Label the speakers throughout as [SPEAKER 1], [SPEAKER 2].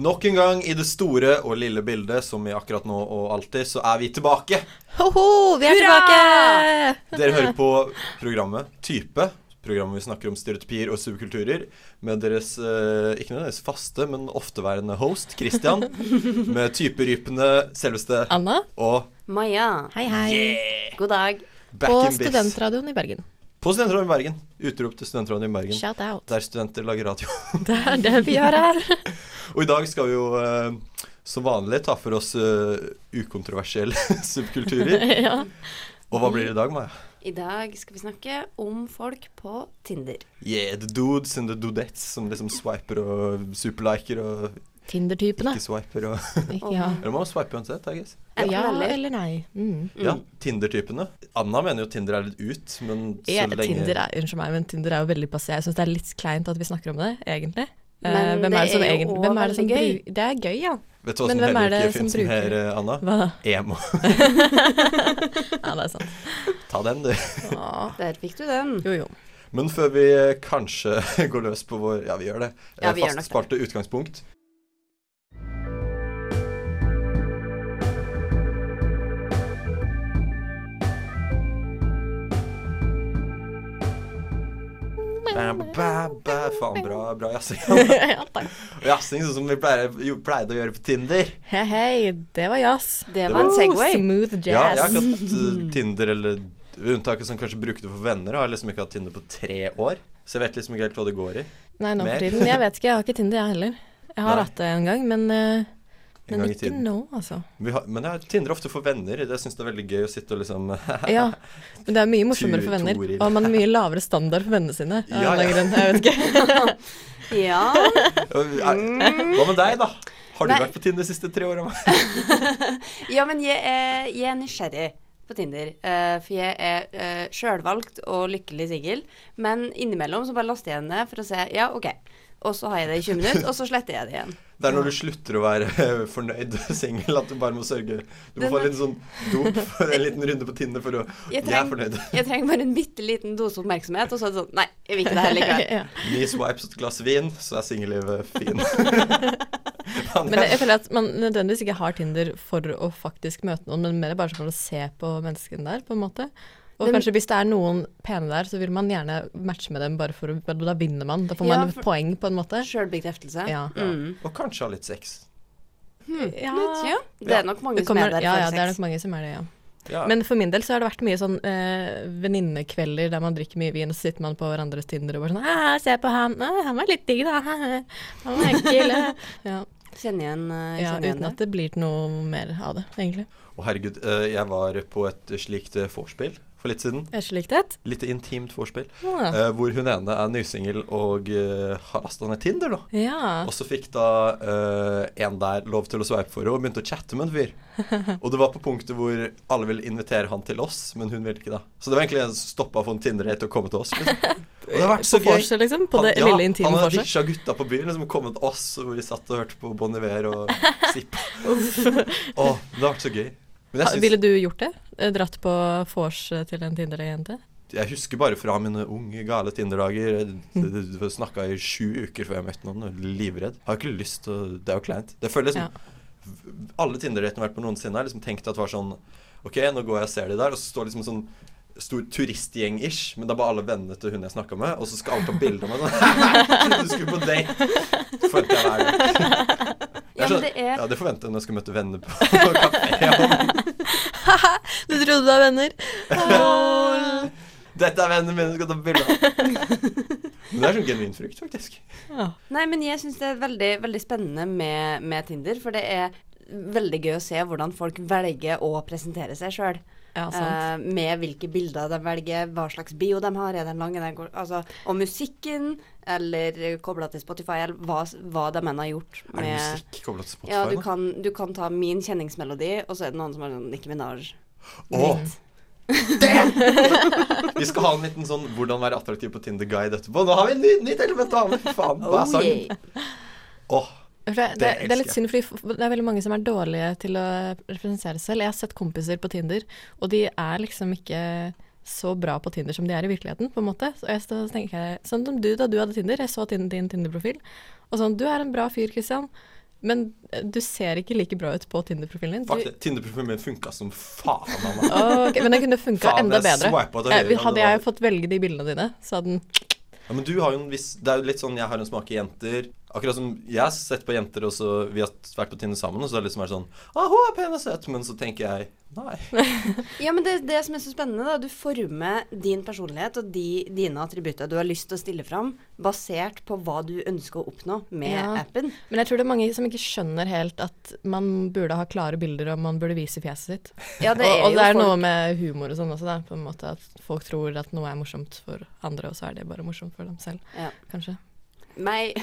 [SPEAKER 1] Nok en gang i det store og lille bildet, som i akkurat nå og alltid, så er vi tilbake.
[SPEAKER 2] Ho-ho, vi er
[SPEAKER 3] Hurra!
[SPEAKER 2] tilbake!
[SPEAKER 1] Dere hører på programmet Type. Programmet vi snakker om stereotypier og subkulturer med deres eh, ikke nødvendigvis faste, men ofteværende host, Christian. Med typerypene selveste
[SPEAKER 2] Anna,
[SPEAKER 1] og
[SPEAKER 3] Maja,
[SPEAKER 2] hei hei.
[SPEAKER 3] god dag.
[SPEAKER 1] back
[SPEAKER 2] På
[SPEAKER 1] in biz.
[SPEAKER 2] studentradioen i Bergen.
[SPEAKER 1] På Studentradioen i Bergen. Utrop til Studentradioen i Bergen.
[SPEAKER 2] Shout out.
[SPEAKER 1] Der studenter lager radio.
[SPEAKER 2] Det er det vi gjør her.
[SPEAKER 1] Og i dag skal vi jo eh, som vanlig ta for oss eh, ukontroversielle subkulturer.
[SPEAKER 2] ja.
[SPEAKER 1] Og hva blir det i dag, Maja?
[SPEAKER 3] I dag skal vi snakke om folk på Tinder.
[SPEAKER 1] Yeah, the dudes and the dudettes som liksom swiper og superliker og
[SPEAKER 2] Tinder-typene.
[SPEAKER 1] ikke swiper og
[SPEAKER 2] Ja.
[SPEAKER 1] Eller man swiper uansett, I guess.
[SPEAKER 3] Enten
[SPEAKER 2] ja
[SPEAKER 3] eller.
[SPEAKER 2] eller nei. Mm.
[SPEAKER 1] Ja, Tinder-typene. Anna mener jo Tinder er litt ut, men så
[SPEAKER 2] Ja,
[SPEAKER 1] lenge
[SPEAKER 2] Tinder er, unnskyld meg, men Tinder er jo veldig passé. Jeg syns det er litt kleint at vi snakker om det, egentlig. Eh,
[SPEAKER 3] Men
[SPEAKER 2] hvem
[SPEAKER 3] det
[SPEAKER 2] er det som
[SPEAKER 3] er jo
[SPEAKER 2] egentlig
[SPEAKER 3] også
[SPEAKER 2] hvem er det som
[SPEAKER 3] veldig
[SPEAKER 2] bru- Det er gøy, ja.
[SPEAKER 1] Vet du hva
[SPEAKER 2] Men
[SPEAKER 1] som
[SPEAKER 2] hvem er
[SPEAKER 1] heller
[SPEAKER 2] det
[SPEAKER 1] ikke
[SPEAKER 2] som
[SPEAKER 1] fins mer,
[SPEAKER 2] bruker-
[SPEAKER 1] eh, Anna?
[SPEAKER 2] Hva da?
[SPEAKER 1] Emo.
[SPEAKER 2] Ja, det er sant.
[SPEAKER 1] Ta den, du.
[SPEAKER 3] Der fikk du den.
[SPEAKER 2] Jo, jo.
[SPEAKER 1] Men før vi eh, kanskje går løs på vår Ja, vi gjør det.
[SPEAKER 3] Ja, vi gjør nok det.
[SPEAKER 1] Fastsparte utgangspunkt. Ba, ba, ba. Faen, bra, bra jazzing.
[SPEAKER 2] ja, takk.
[SPEAKER 1] Jazzing sånn som vi pleier, jo, pleide å gjøre på Tinder.
[SPEAKER 2] Hei, hei. Det var jazz.
[SPEAKER 3] Det var en Segway.
[SPEAKER 2] Smooth jazz.
[SPEAKER 1] Ja, jeg har ikke hatt eh, Tinder eller unntaket som kanskje bruker det for venner. Jeg har liksom ikke hatt Tinder på tre år, så jeg vet liksom ikke helt hva det går i.
[SPEAKER 2] Nei, nå
[SPEAKER 1] Mer?
[SPEAKER 2] for tiden. Jeg vet ikke, jeg har ikke Tinder, jeg heller. Jeg har
[SPEAKER 1] Nei.
[SPEAKER 2] hatt det en gang, men, eh,
[SPEAKER 1] En
[SPEAKER 2] men
[SPEAKER 1] gang i
[SPEAKER 2] ikke
[SPEAKER 1] tiden.
[SPEAKER 2] nå, altså.
[SPEAKER 1] Vi har, men jeg har- Tinder er ofte for venner. Det syns jeg er veldig gøy å sitte og liksom
[SPEAKER 2] Ja, men det er mye morsommere for venner.
[SPEAKER 1] Tutorial.
[SPEAKER 2] Og man har mye lavere standard for vennene sine. av en
[SPEAKER 1] Ja, ja.
[SPEAKER 2] eller annen grunn. Jeg vet ikke.
[SPEAKER 3] Ja. Mm.
[SPEAKER 1] Hva med deg, da? Har du
[SPEAKER 3] Nei.
[SPEAKER 1] vært på Tinder de siste tre åra?
[SPEAKER 3] ja, men jeg er, jeg er nysgjerrig på Tinder. eh, for jeg er uh, sjølvalgt og lykkelig singel. Men innimellom så bare laster jeg henne for å se. Ja, OK. Og så har jeg det i 20 minutter, og så sletter jeg det igjen.
[SPEAKER 1] Det er når du slutter å være eh, fornøyd singel at du bare må sørge Du må
[SPEAKER 3] Den
[SPEAKER 1] få
[SPEAKER 3] er-
[SPEAKER 1] litt sånn dop for en liten runde på Tinder for å
[SPEAKER 3] Jeg
[SPEAKER 1] Jeg er
[SPEAKER 3] trenger,
[SPEAKER 1] fornøyd.
[SPEAKER 3] jeg trenger bare en bitte liten dose oppmerksomhet, og så er det sånn Nei, jeg vil ikke det her likevel.
[SPEAKER 2] Ja.
[SPEAKER 1] Ni swipes og et glass vin, så er singellivet fin. Men
[SPEAKER 2] Men
[SPEAKER 1] jeg-
[SPEAKER 2] jeg føler at man nødvendigvis ikke har Tinder for å faktisk møte noen, men mer bare for å se på menneskene der, på en måte. Og
[SPEAKER 3] Men-
[SPEAKER 2] kanskje hvis det er noen pene der, så vil man gjerne matche med dem bare for å for Da vinner man. Da får
[SPEAKER 3] Ja,
[SPEAKER 2] man
[SPEAKER 3] for-
[SPEAKER 2] poeng, på en måte.
[SPEAKER 3] Sjølbekreftelse.
[SPEAKER 2] Ja.
[SPEAKER 3] Mm.
[SPEAKER 1] Og kanskje ha litt sex.
[SPEAKER 2] Ja.
[SPEAKER 3] Hmm. Litt, ja. Det er nok mange
[SPEAKER 2] Det kommer,
[SPEAKER 3] som er der
[SPEAKER 2] ja,
[SPEAKER 3] for
[SPEAKER 2] ja, det er nok
[SPEAKER 3] sex.
[SPEAKER 2] mange som er det, ja.
[SPEAKER 1] Ja.
[SPEAKER 2] Men for min del så har det vært mye sånn eh, venninnekvelder der man drikker mye vin, og så sitter man på hverandres Tinder og bare sånn «Ah, 'Se på han. Ah, han var litt digg, da. Ah, Han var ekkel.' eh.» ja,
[SPEAKER 3] Kjenner igjen, eh,
[SPEAKER 2] ja,
[SPEAKER 3] kjenner igjen
[SPEAKER 2] uten
[SPEAKER 3] det.
[SPEAKER 2] at det blir til noe mer av det, egentlig.
[SPEAKER 1] Og herregud, eh, jeg var på et slikt eh, vorspiel for litt siden.
[SPEAKER 2] Er slikt et?
[SPEAKER 1] Litt intimt vorspiel.
[SPEAKER 2] Ah.
[SPEAKER 1] eh, hvor hun ene er nysingel og eh, har lasta ned Tinder, da.
[SPEAKER 2] Ja.
[SPEAKER 1] Og så fikk da eh, en der lov til å sveipe for henne og begynte å chatte med en fyr. Og det var på punktet hvor alle ville invitere han til oss, men hun ville ikke da. Så det var egentlig en som stoppa for en Tinder-date og komme til oss. Liksom. Og det har vært så
[SPEAKER 2] på
[SPEAKER 1] gøy.
[SPEAKER 2] vorset, liksom? På det
[SPEAKER 1] Han-
[SPEAKER 2] lille intime
[SPEAKER 1] Han hadde
[SPEAKER 2] vorset?
[SPEAKER 1] ditcha gutta på byen, liksom kommet til oss, og vi satt og hørte på Bon Iver og Zipp. Å, det har vært så gøy. Men
[SPEAKER 2] Ah,
[SPEAKER 1] jeg,
[SPEAKER 2] Ville
[SPEAKER 1] syns,
[SPEAKER 2] du gjort det? Eh, Dratt på vors eh, til en Tinder-jente?
[SPEAKER 1] jeg husker bare fra mine unge, gale Tinder-dager. Snakka i sju uker før jeg møtte noen. og Livredd. Har ikke lyst til å Det er jo kleint. Det føles
[SPEAKER 2] Ja.
[SPEAKER 1] som Alle Tinder-datene jeg har vært på noensinne, har liksom tenkt at det var sånn Ok, nå går jeg og ser de der, og så står liksom sånn stor turistgjeng-ish, men det er bare alle vennene til hun jeg snakka med, og så skal alle ta bilde av meg sånn Du skulle på date! Følte jeg hver gang.
[SPEAKER 3] Ja, men det
[SPEAKER 1] Altså-
[SPEAKER 3] er
[SPEAKER 1] Ja, det forventer jeg når jeg skal møte venner på kafé.
[SPEAKER 2] Du trodde du var venner? Lol.
[SPEAKER 1] Dette er vennene mine, skal ta bilde av. Men det er sånn genuin frykt, faktisk.
[SPEAKER 2] Ja.
[SPEAKER 3] Nei, men jeg syns det er veldig, veldig spennende med, med Tinder, for det er veldig gøy å se hvordan folk velger å presentere seg sjøl.
[SPEAKER 2] ja,
[SPEAKER 1] Eh,
[SPEAKER 2] sant.
[SPEAKER 3] med hvilke bilder de velger, hva slags bio de har, er den lang, er den kort altså, Og musikken, eller kobla til Spotify, eller hva, hva de enn har gjort
[SPEAKER 1] Er det
[SPEAKER 3] med
[SPEAKER 1] musikk kobla til Spotify?
[SPEAKER 3] ja, du
[SPEAKER 1] da?
[SPEAKER 3] kan, du kan ta min kjenningsmelodi, og så er det noen som har sånn Nicki Minaj.
[SPEAKER 1] Å, vi skal ha en liten sånn 'hvordan være attraktiv på Tinder-guide' etterpå. Nå har vi et ny, nytt element! da, men Faen, hva er sangen?
[SPEAKER 3] Oh, yeah.
[SPEAKER 1] Åh,
[SPEAKER 2] For Det, det,
[SPEAKER 1] Det
[SPEAKER 2] det er litt
[SPEAKER 1] elsker
[SPEAKER 2] synd, fordi f- det er veldig mange som er dårlige til å representere seg selv. Jeg har sett kompiser på Tinder, og de er liksom ikke så bra på Tinder som de er i virkeligheten, på en måte. Så jeg stod, og tenker jeg, sånn som du da du hadde Tinder, jeg så Tinder, din Tinder-profil, og sånn, du er en bra fyr, Kristian. Men eh, du ser ikke like bra ut på Tinder-profilen din.
[SPEAKER 1] Fuck
[SPEAKER 2] Du,
[SPEAKER 1] det. Tinder-profilen min funka som faen, mamma.
[SPEAKER 2] Å, ok, men den kunne funka
[SPEAKER 1] Faen,
[SPEAKER 2] enda
[SPEAKER 1] jeg
[SPEAKER 2] bedre.
[SPEAKER 1] swipet til
[SPEAKER 2] Eh,
[SPEAKER 1] høyre, men
[SPEAKER 2] hadde
[SPEAKER 1] det
[SPEAKER 2] jeg
[SPEAKER 1] var-
[SPEAKER 2] fått velge de bildene dine, så hadde den
[SPEAKER 1] Ja, men du har jo en viss Det er jo litt sånn jeg har en smak i jenter. Akkurat som jeg har sett på jenter, og så vi har vært på Tinder sammen, og så har det liksom vært sånn Å, hun er pen og søt. Men så tenker jeg nei.
[SPEAKER 3] Ja, men det, det som er så spennende, da, du former din personlighet og de, dine attributter du har lyst til å stille fram, basert på hva du ønsker å oppnå med
[SPEAKER 2] Ja.
[SPEAKER 3] appen.
[SPEAKER 2] Men jeg tror det er mange som ikke skjønner helt at man burde ha klare bilder og man burde vise fjeset sitt.
[SPEAKER 3] Ja, det er
[SPEAKER 2] og, og det er
[SPEAKER 3] jo folk
[SPEAKER 2] noe med humor og sånn også, da. På en måte at folk tror at noe er morsomt for andre, og så er det bare morsomt for dem selv,
[SPEAKER 3] ja.
[SPEAKER 2] kanskje.
[SPEAKER 3] Meg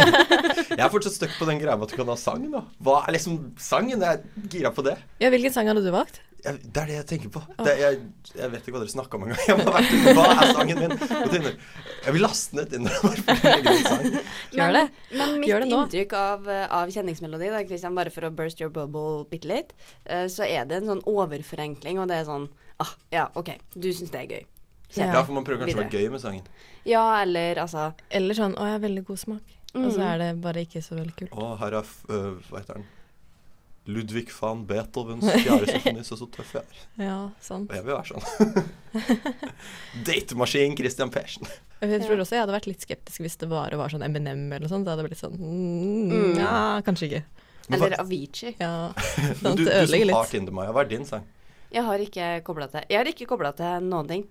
[SPEAKER 1] Jeg er fortsatt stuck på den greia med at du kan ha sang, da. Hva er liksom sangen? Jeg er gira på det.
[SPEAKER 2] Ja, hvilken sang hadde du valgt?
[SPEAKER 1] Jeg, det er det jeg tenker på. Det, jeg, jeg vet ikke hva dere snakka om engang. Jeg må ha vært ute. Hva er sangen min? på Tinder? Jeg vil laste ned Tinder. bare for min egen sang.
[SPEAKER 2] Gjør det.
[SPEAKER 3] Men, men mitt
[SPEAKER 2] Gjør det nå.
[SPEAKER 3] inntrykk av, eh, av kjenningsmelodi, da, Christian, bare for å burst your bubble bitte litt, eh, så er det en sånn overforenkling, og det er sånn ah, Ja, OK, du syns det er gøy.
[SPEAKER 2] Ja.
[SPEAKER 1] Ja, for man prøver kanskje å være gøy med sangen.
[SPEAKER 3] Ja, eller altså
[SPEAKER 2] Eller sånn 'Å, jeg har veldig god smak', og
[SPEAKER 3] Mm.
[SPEAKER 2] så er det bare ikke så veldig kult.
[SPEAKER 1] Å, her er f- øh, Hva heter den? Ludvig van Beethovens fjerde symfoni. Så så tøff jeg er.
[SPEAKER 2] Ja, sant.
[SPEAKER 1] Og jeg vil være sånn. Datemaskin Christian Persen.
[SPEAKER 2] Og Jeg tror
[SPEAKER 3] Ja.
[SPEAKER 2] også jeg hadde vært litt skeptisk hvis det bare var sånn Eminem eller noe sånt. Da hadde det blitt sånn mm,
[SPEAKER 3] Mm.
[SPEAKER 2] Ja, kanskje ikke.
[SPEAKER 1] Men hva-
[SPEAKER 3] Eller Avicii.
[SPEAKER 2] Ja,
[SPEAKER 1] Men
[SPEAKER 2] sant,
[SPEAKER 1] du, du
[SPEAKER 2] det
[SPEAKER 1] som
[SPEAKER 2] ødelegger
[SPEAKER 1] har
[SPEAKER 2] litt.
[SPEAKER 1] Tinder, Maja, hva er din sang?
[SPEAKER 3] Jeg har ikke kobla til Jeg har ikke kobla til noen ting.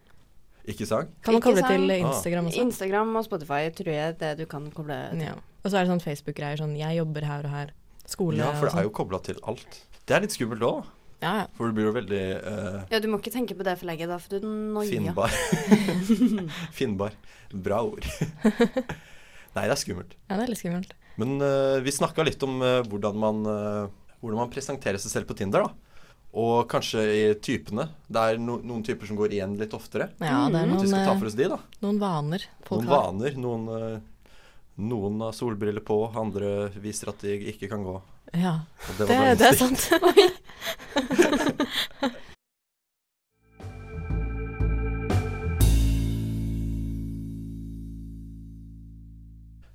[SPEAKER 1] Ikke sang?
[SPEAKER 2] Kan man
[SPEAKER 3] Ikke
[SPEAKER 2] koble
[SPEAKER 3] sant?
[SPEAKER 2] til Instagram også?
[SPEAKER 3] Instagram og Spotify tror jeg det du kan koble til.
[SPEAKER 2] Ja. Og så er det sånn Facebook-greier sånn 'jeg jobber her og her', skole
[SPEAKER 1] Ja, for det
[SPEAKER 2] og
[SPEAKER 1] er
[SPEAKER 2] sånn.
[SPEAKER 1] jo kobla til alt. Det er litt skummelt òg,
[SPEAKER 2] Ja, ja.
[SPEAKER 1] for du blir jo veldig øh,
[SPEAKER 3] Ja, du må ikke tenke på det for lenge, da, for du noier.
[SPEAKER 1] Finnbar. Finnbar. Bra ord. Nei, det er skummelt.
[SPEAKER 2] ja, det er litt skummelt.
[SPEAKER 1] Men eh, vi snakka litt om eh, hvordan, man, eh, hvordan man presenterer seg selv på Tinder. da. Og kanskje i typene. Det er no noen typer som går igjen litt oftere.
[SPEAKER 2] Ja,
[SPEAKER 3] Mm.
[SPEAKER 2] det er
[SPEAKER 1] At vi
[SPEAKER 2] noen,
[SPEAKER 1] skal ta
[SPEAKER 2] eh,
[SPEAKER 1] for oss de, da.
[SPEAKER 2] noen vaner folk
[SPEAKER 1] Noen
[SPEAKER 2] har.
[SPEAKER 1] vaner. Noen, eh, noen har solbriller på, andre viser at de ikke kan gå.
[SPEAKER 2] Ja,
[SPEAKER 1] Og
[SPEAKER 2] det,
[SPEAKER 1] var bare en
[SPEAKER 2] det er
[SPEAKER 1] stikk.
[SPEAKER 2] sant.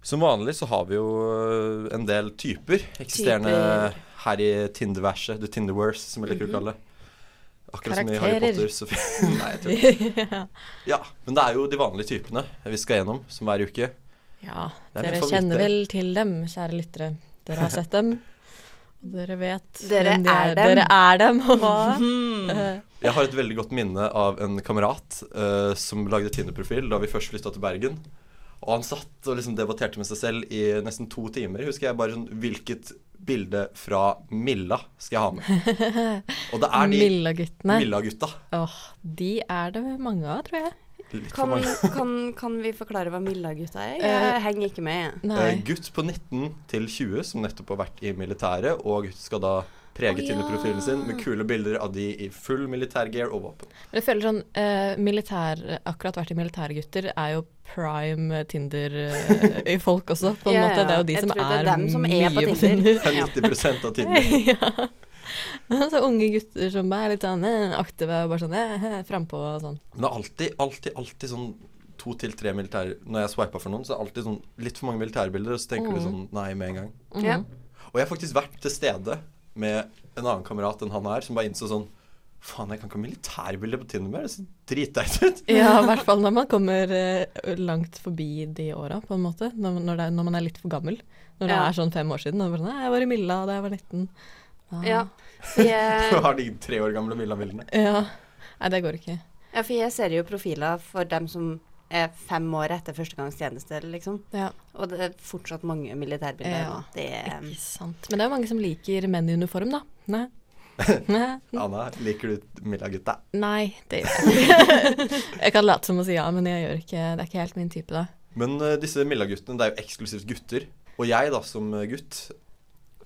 [SPEAKER 1] Som vanlig så har vi jo eh, en del typer eksisterende
[SPEAKER 3] Typer.
[SPEAKER 1] her i Tinderverset. The Tinderverse, som jeg liker å kalle det. Akkurat som i Harry
[SPEAKER 2] Mhm. Karakterer.
[SPEAKER 1] Potter. Så fin- Nei, jeg tror
[SPEAKER 2] ja.
[SPEAKER 1] Ja, men det er jo de vanlige typene vi skal gjennom, som hver uke.
[SPEAKER 2] ja,
[SPEAKER 1] Det er min
[SPEAKER 2] dere
[SPEAKER 1] favoritt,
[SPEAKER 2] kjenner
[SPEAKER 1] det.
[SPEAKER 2] vel til dem, kjære lyttere. Dere har sett dem. Og dere vet
[SPEAKER 3] Dere
[SPEAKER 2] hvem de
[SPEAKER 3] er dem.
[SPEAKER 2] Dere er dem, og hva? Eh,
[SPEAKER 1] Jeg har et veldig godt minne av en kamerat eh, som lagde Tinder-profil da vi først flytta til Bergen. Og han satt og liksom debatterte med seg selv i nesten to timer. Husker jeg bare sånn Hvilket bilde fra Milla skal jeg ha med? Og det er de
[SPEAKER 2] Milla-guttene.
[SPEAKER 1] Milla-gutta.
[SPEAKER 2] Åh, de er det mange av, tror jeg.
[SPEAKER 1] Litt for
[SPEAKER 3] Kan,
[SPEAKER 1] mange.
[SPEAKER 3] kan, kan vi forklare hva Milla-gutta er?
[SPEAKER 2] Eh,
[SPEAKER 3] Jeg henger ikke med. jeg.
[SPEAKER 2] Nei.
[SPEAKER 1] Eh, gutt på 19 til 20 som nettopp har vært i militæret, og skal da prege
[SPEAKER 3] Å, ja.
[SPEAKER 1] Tinder-profilen sin med kule bilder av de i full militærgear og våpen.
[SPEAKER 2] Men jeg føler sånn eh, militær, Akkurat vært i militærgutter er jo prime Tinder-folk også, på en
[SPEAKER 3] Ja,
[SPEAKER 2] måte. Det er jo de
[SPEAKER 3] jeg
[SPEAKER 2] som
[SPEAKER 3] tror
[SPEAKER 2] er,
[SPEAKER 3] det er dem som er
[SPEAKER 2] mye
[SPEAKER 3] på Tinder.
[SPEAKER 1] Det er 90 av Tinder.
[SPEAKER 2] ja. Så unge gutter som meg er litt sånn eh, aktive og bare sånn eh, frampå og sånn.
[SPEAKER 1] Men det er alltid, alltid, alltid sånn to til tre militære Når jeg swiper for noen, så er det alltid sånn litt for mange militærbilder, og så tenker
[SPEAKER 3] Mm.
[SPEAKER 1] du sånn Nei, med en gang.
[SPEAKER 2] Mhm.
[SPEAKER 3] Ja.
[SPEAKER 1] Og jeg har faktisk vært til stede med en annen kamerat enn han her, som bare innså sånn Faen, jeg kan ikke ha militærbilder på Tinder mer. Det ser dritdeit ut.
[SPEAKER 2] Ja, i hvert fall når man kommer eh, langt forbi de åra, på en måte. Når, når, det, er- når man er litt for gammel. Når det
[SPEAKER 3] Ja.
[SPEAKER 2] er sånn fem år siden. Og bare sånn, «Nei, jeg var i Milla da jeg var 19. Ah.
[SPEAKER 3] Ja. For
[SPEAKER 1] Du
[SPEAKER 3] jeg,
[SPEAKER 1] har de tre år gamle Milla-bildene.
[SPEAKER 2] ja. Nei, det går ikke.
[SPEAKER 3] ja, for jeg ser jo profiler for dem som er fem år etter førstegangstjeneste, liksom.
[SPEAKER 2] Ja.
[SPEAKER 3] Og det er fortsatt mange militærbilder.
[SPEAKER 2] Ja.
[SPEAKER 3] nå. Det er,
[SPEAKER 2] Ikke sant. Men det er jo mange som liker menn i uniform, da. Nei. Nei.
[SPEAKER 1] Anna, liker du Milla-gutta?
[SPEAKER 2] Nei, det gjør jeg ikke. Jeg kan late som å si ja, men jeg gjør ikke, det er ikke helt min type, da.
[SPEAKER 1] Men eh, disse Milla-guttene, det er jo eksklusivt gutter. Og jeg, da, som eh, gutt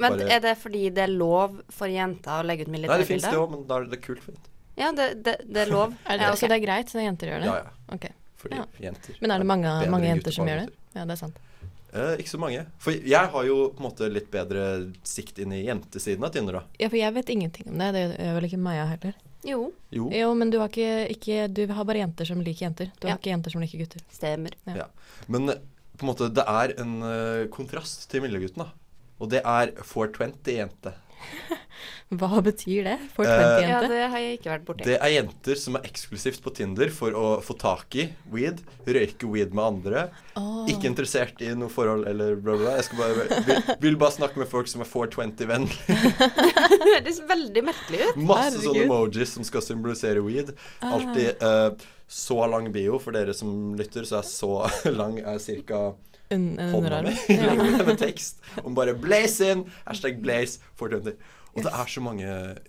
[SPEAKER 3] men
[SPEAKER 1] Bare-
[SPEAKER 3] er det fordi det er lov for jenter å legge ut
[SPEAKER 1] Nei, det fins det
[SPEAKER 3] militærbilder?
[SPEAKER 1] òg, men da er det kult. for jenter.
[SPEAKER 3] Ja, det, det, det er lov.
[SPEAKER 2] Er det,
[SPEAKER 3] ja, ok.
[SPEAKER 2] Så det er greit når jenter gjør det?
[SPEAKER 1] Ja, ja.
[SPEAKER 2] Ok.
[SPEAKER 1] Fordi
[SPEAKER 2] Ja.
[SPEAKER 1] jenter
[SPEAKER 2] Men er det mange,
[SPEAKER 1] bedre
[SPEAKER 2] mange
[SPEAKER 1] enn liksom.
[SPEAKER 2] jenter
[SPEAKER 1] gutter
[SPEAKER 2] som
[SPEAKER 1] på
[SPEAKER 2] gjør
[SPEAKER 1] alle
[SPEAKER 2] det? Ja, det er sant.
[SPEAKER 1] Eh, ikke så mange. For jeg har jo på en måte litt bedre sikt inn i jentesiden av Tinder, da.
[SPEAKER 2] Ja, for jeg vet ingenting om det. Det gjør vel ikke Maja heller.
[SPEAKER 3] Jo,
[SPEAKER 1] Jo.
[SPEAKER 2] Jo, men du har, ikke, ikke, du har bare jenter som liker jenter. Du
[SPEAKER 3] Ja.
[SPEAKER 2] har ikke jenter som liker gutter.
[SPEAKER 3] stemmer.
[SPEAKER 1] Ja. Men eh, på en måte, det er en eh, kontrast til Millegutten, da. Og det er 420-jente.
[SPEAKER 2] Hva betyr det for
[SPEAKER 1] Eh,
[SPEAKER 2] 20-jente?
[SPEAKER 3] Ja, det har jeg ikke vært borti.
[SPEAKER 1] Det er jenter som er eksklusivt på Tinder for å få tak i weed, røyke weed med andre. Ikke interessert i noe forhold eller bla, bla. bla. Jeg skal bare, vil, vil bare snakke med folk som er 420-venn.
[SPEAKER 3] Det høres veldig merkelig ut.
[SPEAKER 1] Masse sånne
[SPEAKER 2] Herregud. Ah.
[SPEAKER 1] emojis som skal symbolisere weed. Alltid eh, så lang bio. For dere som lytter, så er så lang er ca.
[SPEAKER 2] Un, en
[SPEAKER 1] hånda mi.
[SPEAKER 2] underarm. Ja.
[SPEAKER 1] Lengre med tekst. Om bare 'blaze in', hashtag 'blaze 420'. Og det er så mange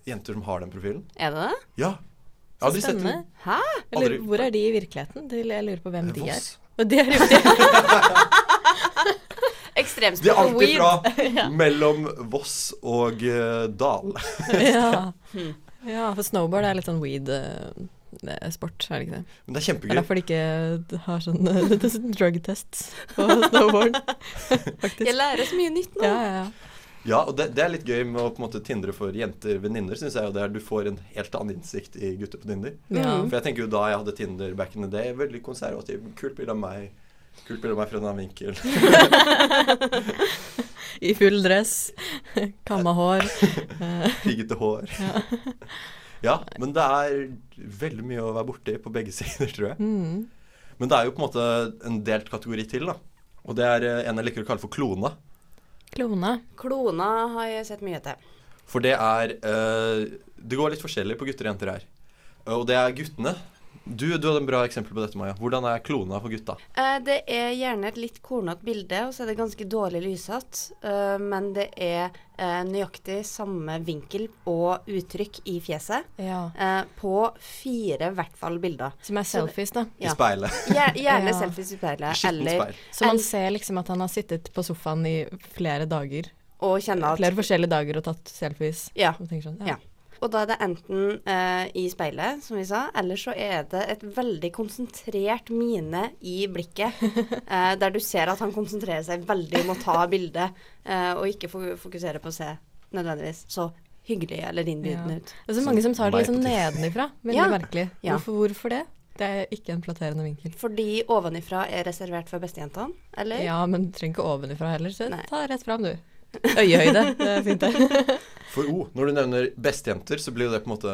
[SPEAKER 1] jenter som har den profilen.
[SPEAKER 3] Er det det?
[SPEAKER 1] Ja. Jeg har aldri sett den.
[SPEAKER 2] Spennende.
[SPEAKER 3] Hæ?
[SPEAKER 2] Eller,
[SPEAKER 1] Aldri- Eh,
[SPEAKER 2] hvor er de i virkeligheten? De- Jeg lurer på hvem de er.
[SPEAKER 1] Voss.
[SPEAKER 2] Og de er jo det.
[SPEAKER 1] De
[SPEAKER 3] Ekstremsport
[SPEAKER 1] er
[SPEAKER 3] og
[SPEAKER 1] alltid
[SPEAKER 3] weed.
[SPEAKER 1] fra mellom Voss og eh, Dal.
[SPEAKER 2] ja.
[SPEAKER 3] Hmm.
[SPEAKER 2] ja, for snowboard er litt sånn weed-sport, er det
[SPEAKER 1] Men det
[SPEAKER 2] ikke det?
[SPEAKER 1] er
[SPEAKER 2] Det
[SPEAKER 1] kjempegøy.
[SPEAKER 2] er derfor de ikke har sånn eh, det er sånn drug tests på snowboard,
[SPEAKER 3] Jeg
[SPEAKER 2] faktisk.
[SPEAKER 3] lærer så mye nytt nå.
[SPEAKER 2] Ja, ja, ja.
[SPEAKER 1] Ja, og det, det er litt gøy med å på en måte tindre for jenter-venninner, syns jeg. Og det er du får en helt annen innsikt i gutter på Tinder.
[SPEAKER 3] Mm.
[SPEAKER 2] Ja.
[SPEAKER 1] For jeg tenker jo da jeg hadde Tinder back in the day, veldig konservativ. Kult bilde av meg. Kult bilde av meg fra en annen vinkel.
[SPEAKER 2] I full dress, kamma hår.
[SPEAKER 1] Piggete hår. Ja. men det er veldig mye å være borti på begge sider, tror jeg.
[SPEAKER 2] Mm.
[SPEAKER 1] Men det er jo på en måte en delt kategori til, da. Og det er eh, en jeg liker å kalle for klona.
[SPEAKER 2] Klona.
[SPEAKER 3] Klona har jeg sett mye til.
[SPEAKER 1] For det er eh, Det går litt forskjellig på gutter og jenter her. Eh, Og det er guttene. Du, du hadde en bra eksempel på dette, Maja. Hvordan er klona for gutta?
[SPEAKER 3] Eh, Det er gjerne et litt kornete bilde, og så er det ganske dårlig lyssatt. eh, Men det er eh, nøyaktig samme vinkel og uttrykk i fjeset
[SPEAKER 2] Ja.
[SPEAKER 3] eh, på fire, i hvert fall, bilder.
[SPEAKER 2] Som er selfies, da.
[SPEAKER 1] I
[SPEAKER 3] Ja.
[SPEAKER 1] speilet.
[SPEAKER 3] Gjer- Gjerne
[SPEAKER 2] Ja.
[SPEAKER 3] selfies i speilet,
[SPEAKER 1] Skittent
[SPEAKER 3] eller
[SPEAKER 1] speil.
[SPEAKER 2] Så man ser liksom at han har sittet på sofaen i flere dager.
[SPEAKER 3] Og kjenne at
[SPEAKER 2] Flere forskjellige dager og tatt selfies.
[SPEAKER 3] Ja.
[SPEAKER 2] Og tenker sånn,
[SPEAKER 3] Ja.
[SPEAKER 2] ja.
[SPEAKER 3] Og da er det enten eh, i speilet, som vi sa, eller så er det et veldig konsentrert mine i blikket, eh, der du ser at han konsentrerer seg veldig om å ta bildet, eh, og ikke fo- fokusere på å se nødvendigvis så hyggelig eller
[SPEAKER 2] Ja.
[SPEAKER 3] innbydende ut.
[SPEAKER 2] Det er så mange som tar det
[SPEAKER 1] Meg på
[SPEAKER 2] liksom
[SPEAKER 1] tur.
[SPEAKER 2] nedenifra. Veldig
[SPEAKER 3] Ja.
[SPEAKER 2] merkelig.
[SPEAKER 3] Ja.
[SPEAKER 2] Hvorfor, hvorfor det? Det er ikke en flatterende vinkel.
[SPEAKER 3] Fordi ovenifra er reservert for bestejentene, eller?
[SPEAKER 2] Ja, men du trenger ikke ovenifra heller, så
[SPEAKER 3] Nei.
[SPEAKER 2] ta rett fram, du. Øyehøyde, det er fint det.
[SPEAKER 1] For O, når du nevner bestejenter, så blir jo det på en måte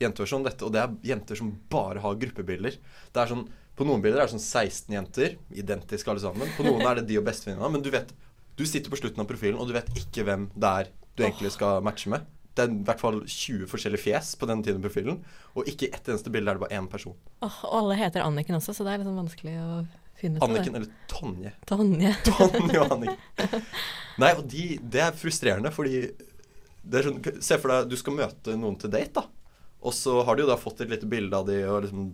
[SPEAKER 1] jenteversjon dette. Og det er jenter som bare har gruppebilder. Det er sånn, På noen bilder er det sånn 16 jenter, identiske alle sammen. På noen er det de og bestevenninna. Men du vet, du sitter på slutten av profilen, og du vet ikke hvem det er du egentlig skal matche med. Det er i hvert fall 20 forskjellige fjes på den tiden av profilen, og ikke i ett eneste bilde er det bare én person.
[SPEAKER 2] Åh, og alle heter Anniken også, så det er liksom vanskelig å finne ut av det.
[SPEAKER 1] Anniken eller Tonje.
[SPEAKER 2] Tonje.
[SPEAKER 1] Tonje og Anniken. Nei, og de, det er frustrerende, fordi det er sånn, Se for deg du skal møte noen til date, da. Og så har de jo da fått et lite bilde av de, og liksom,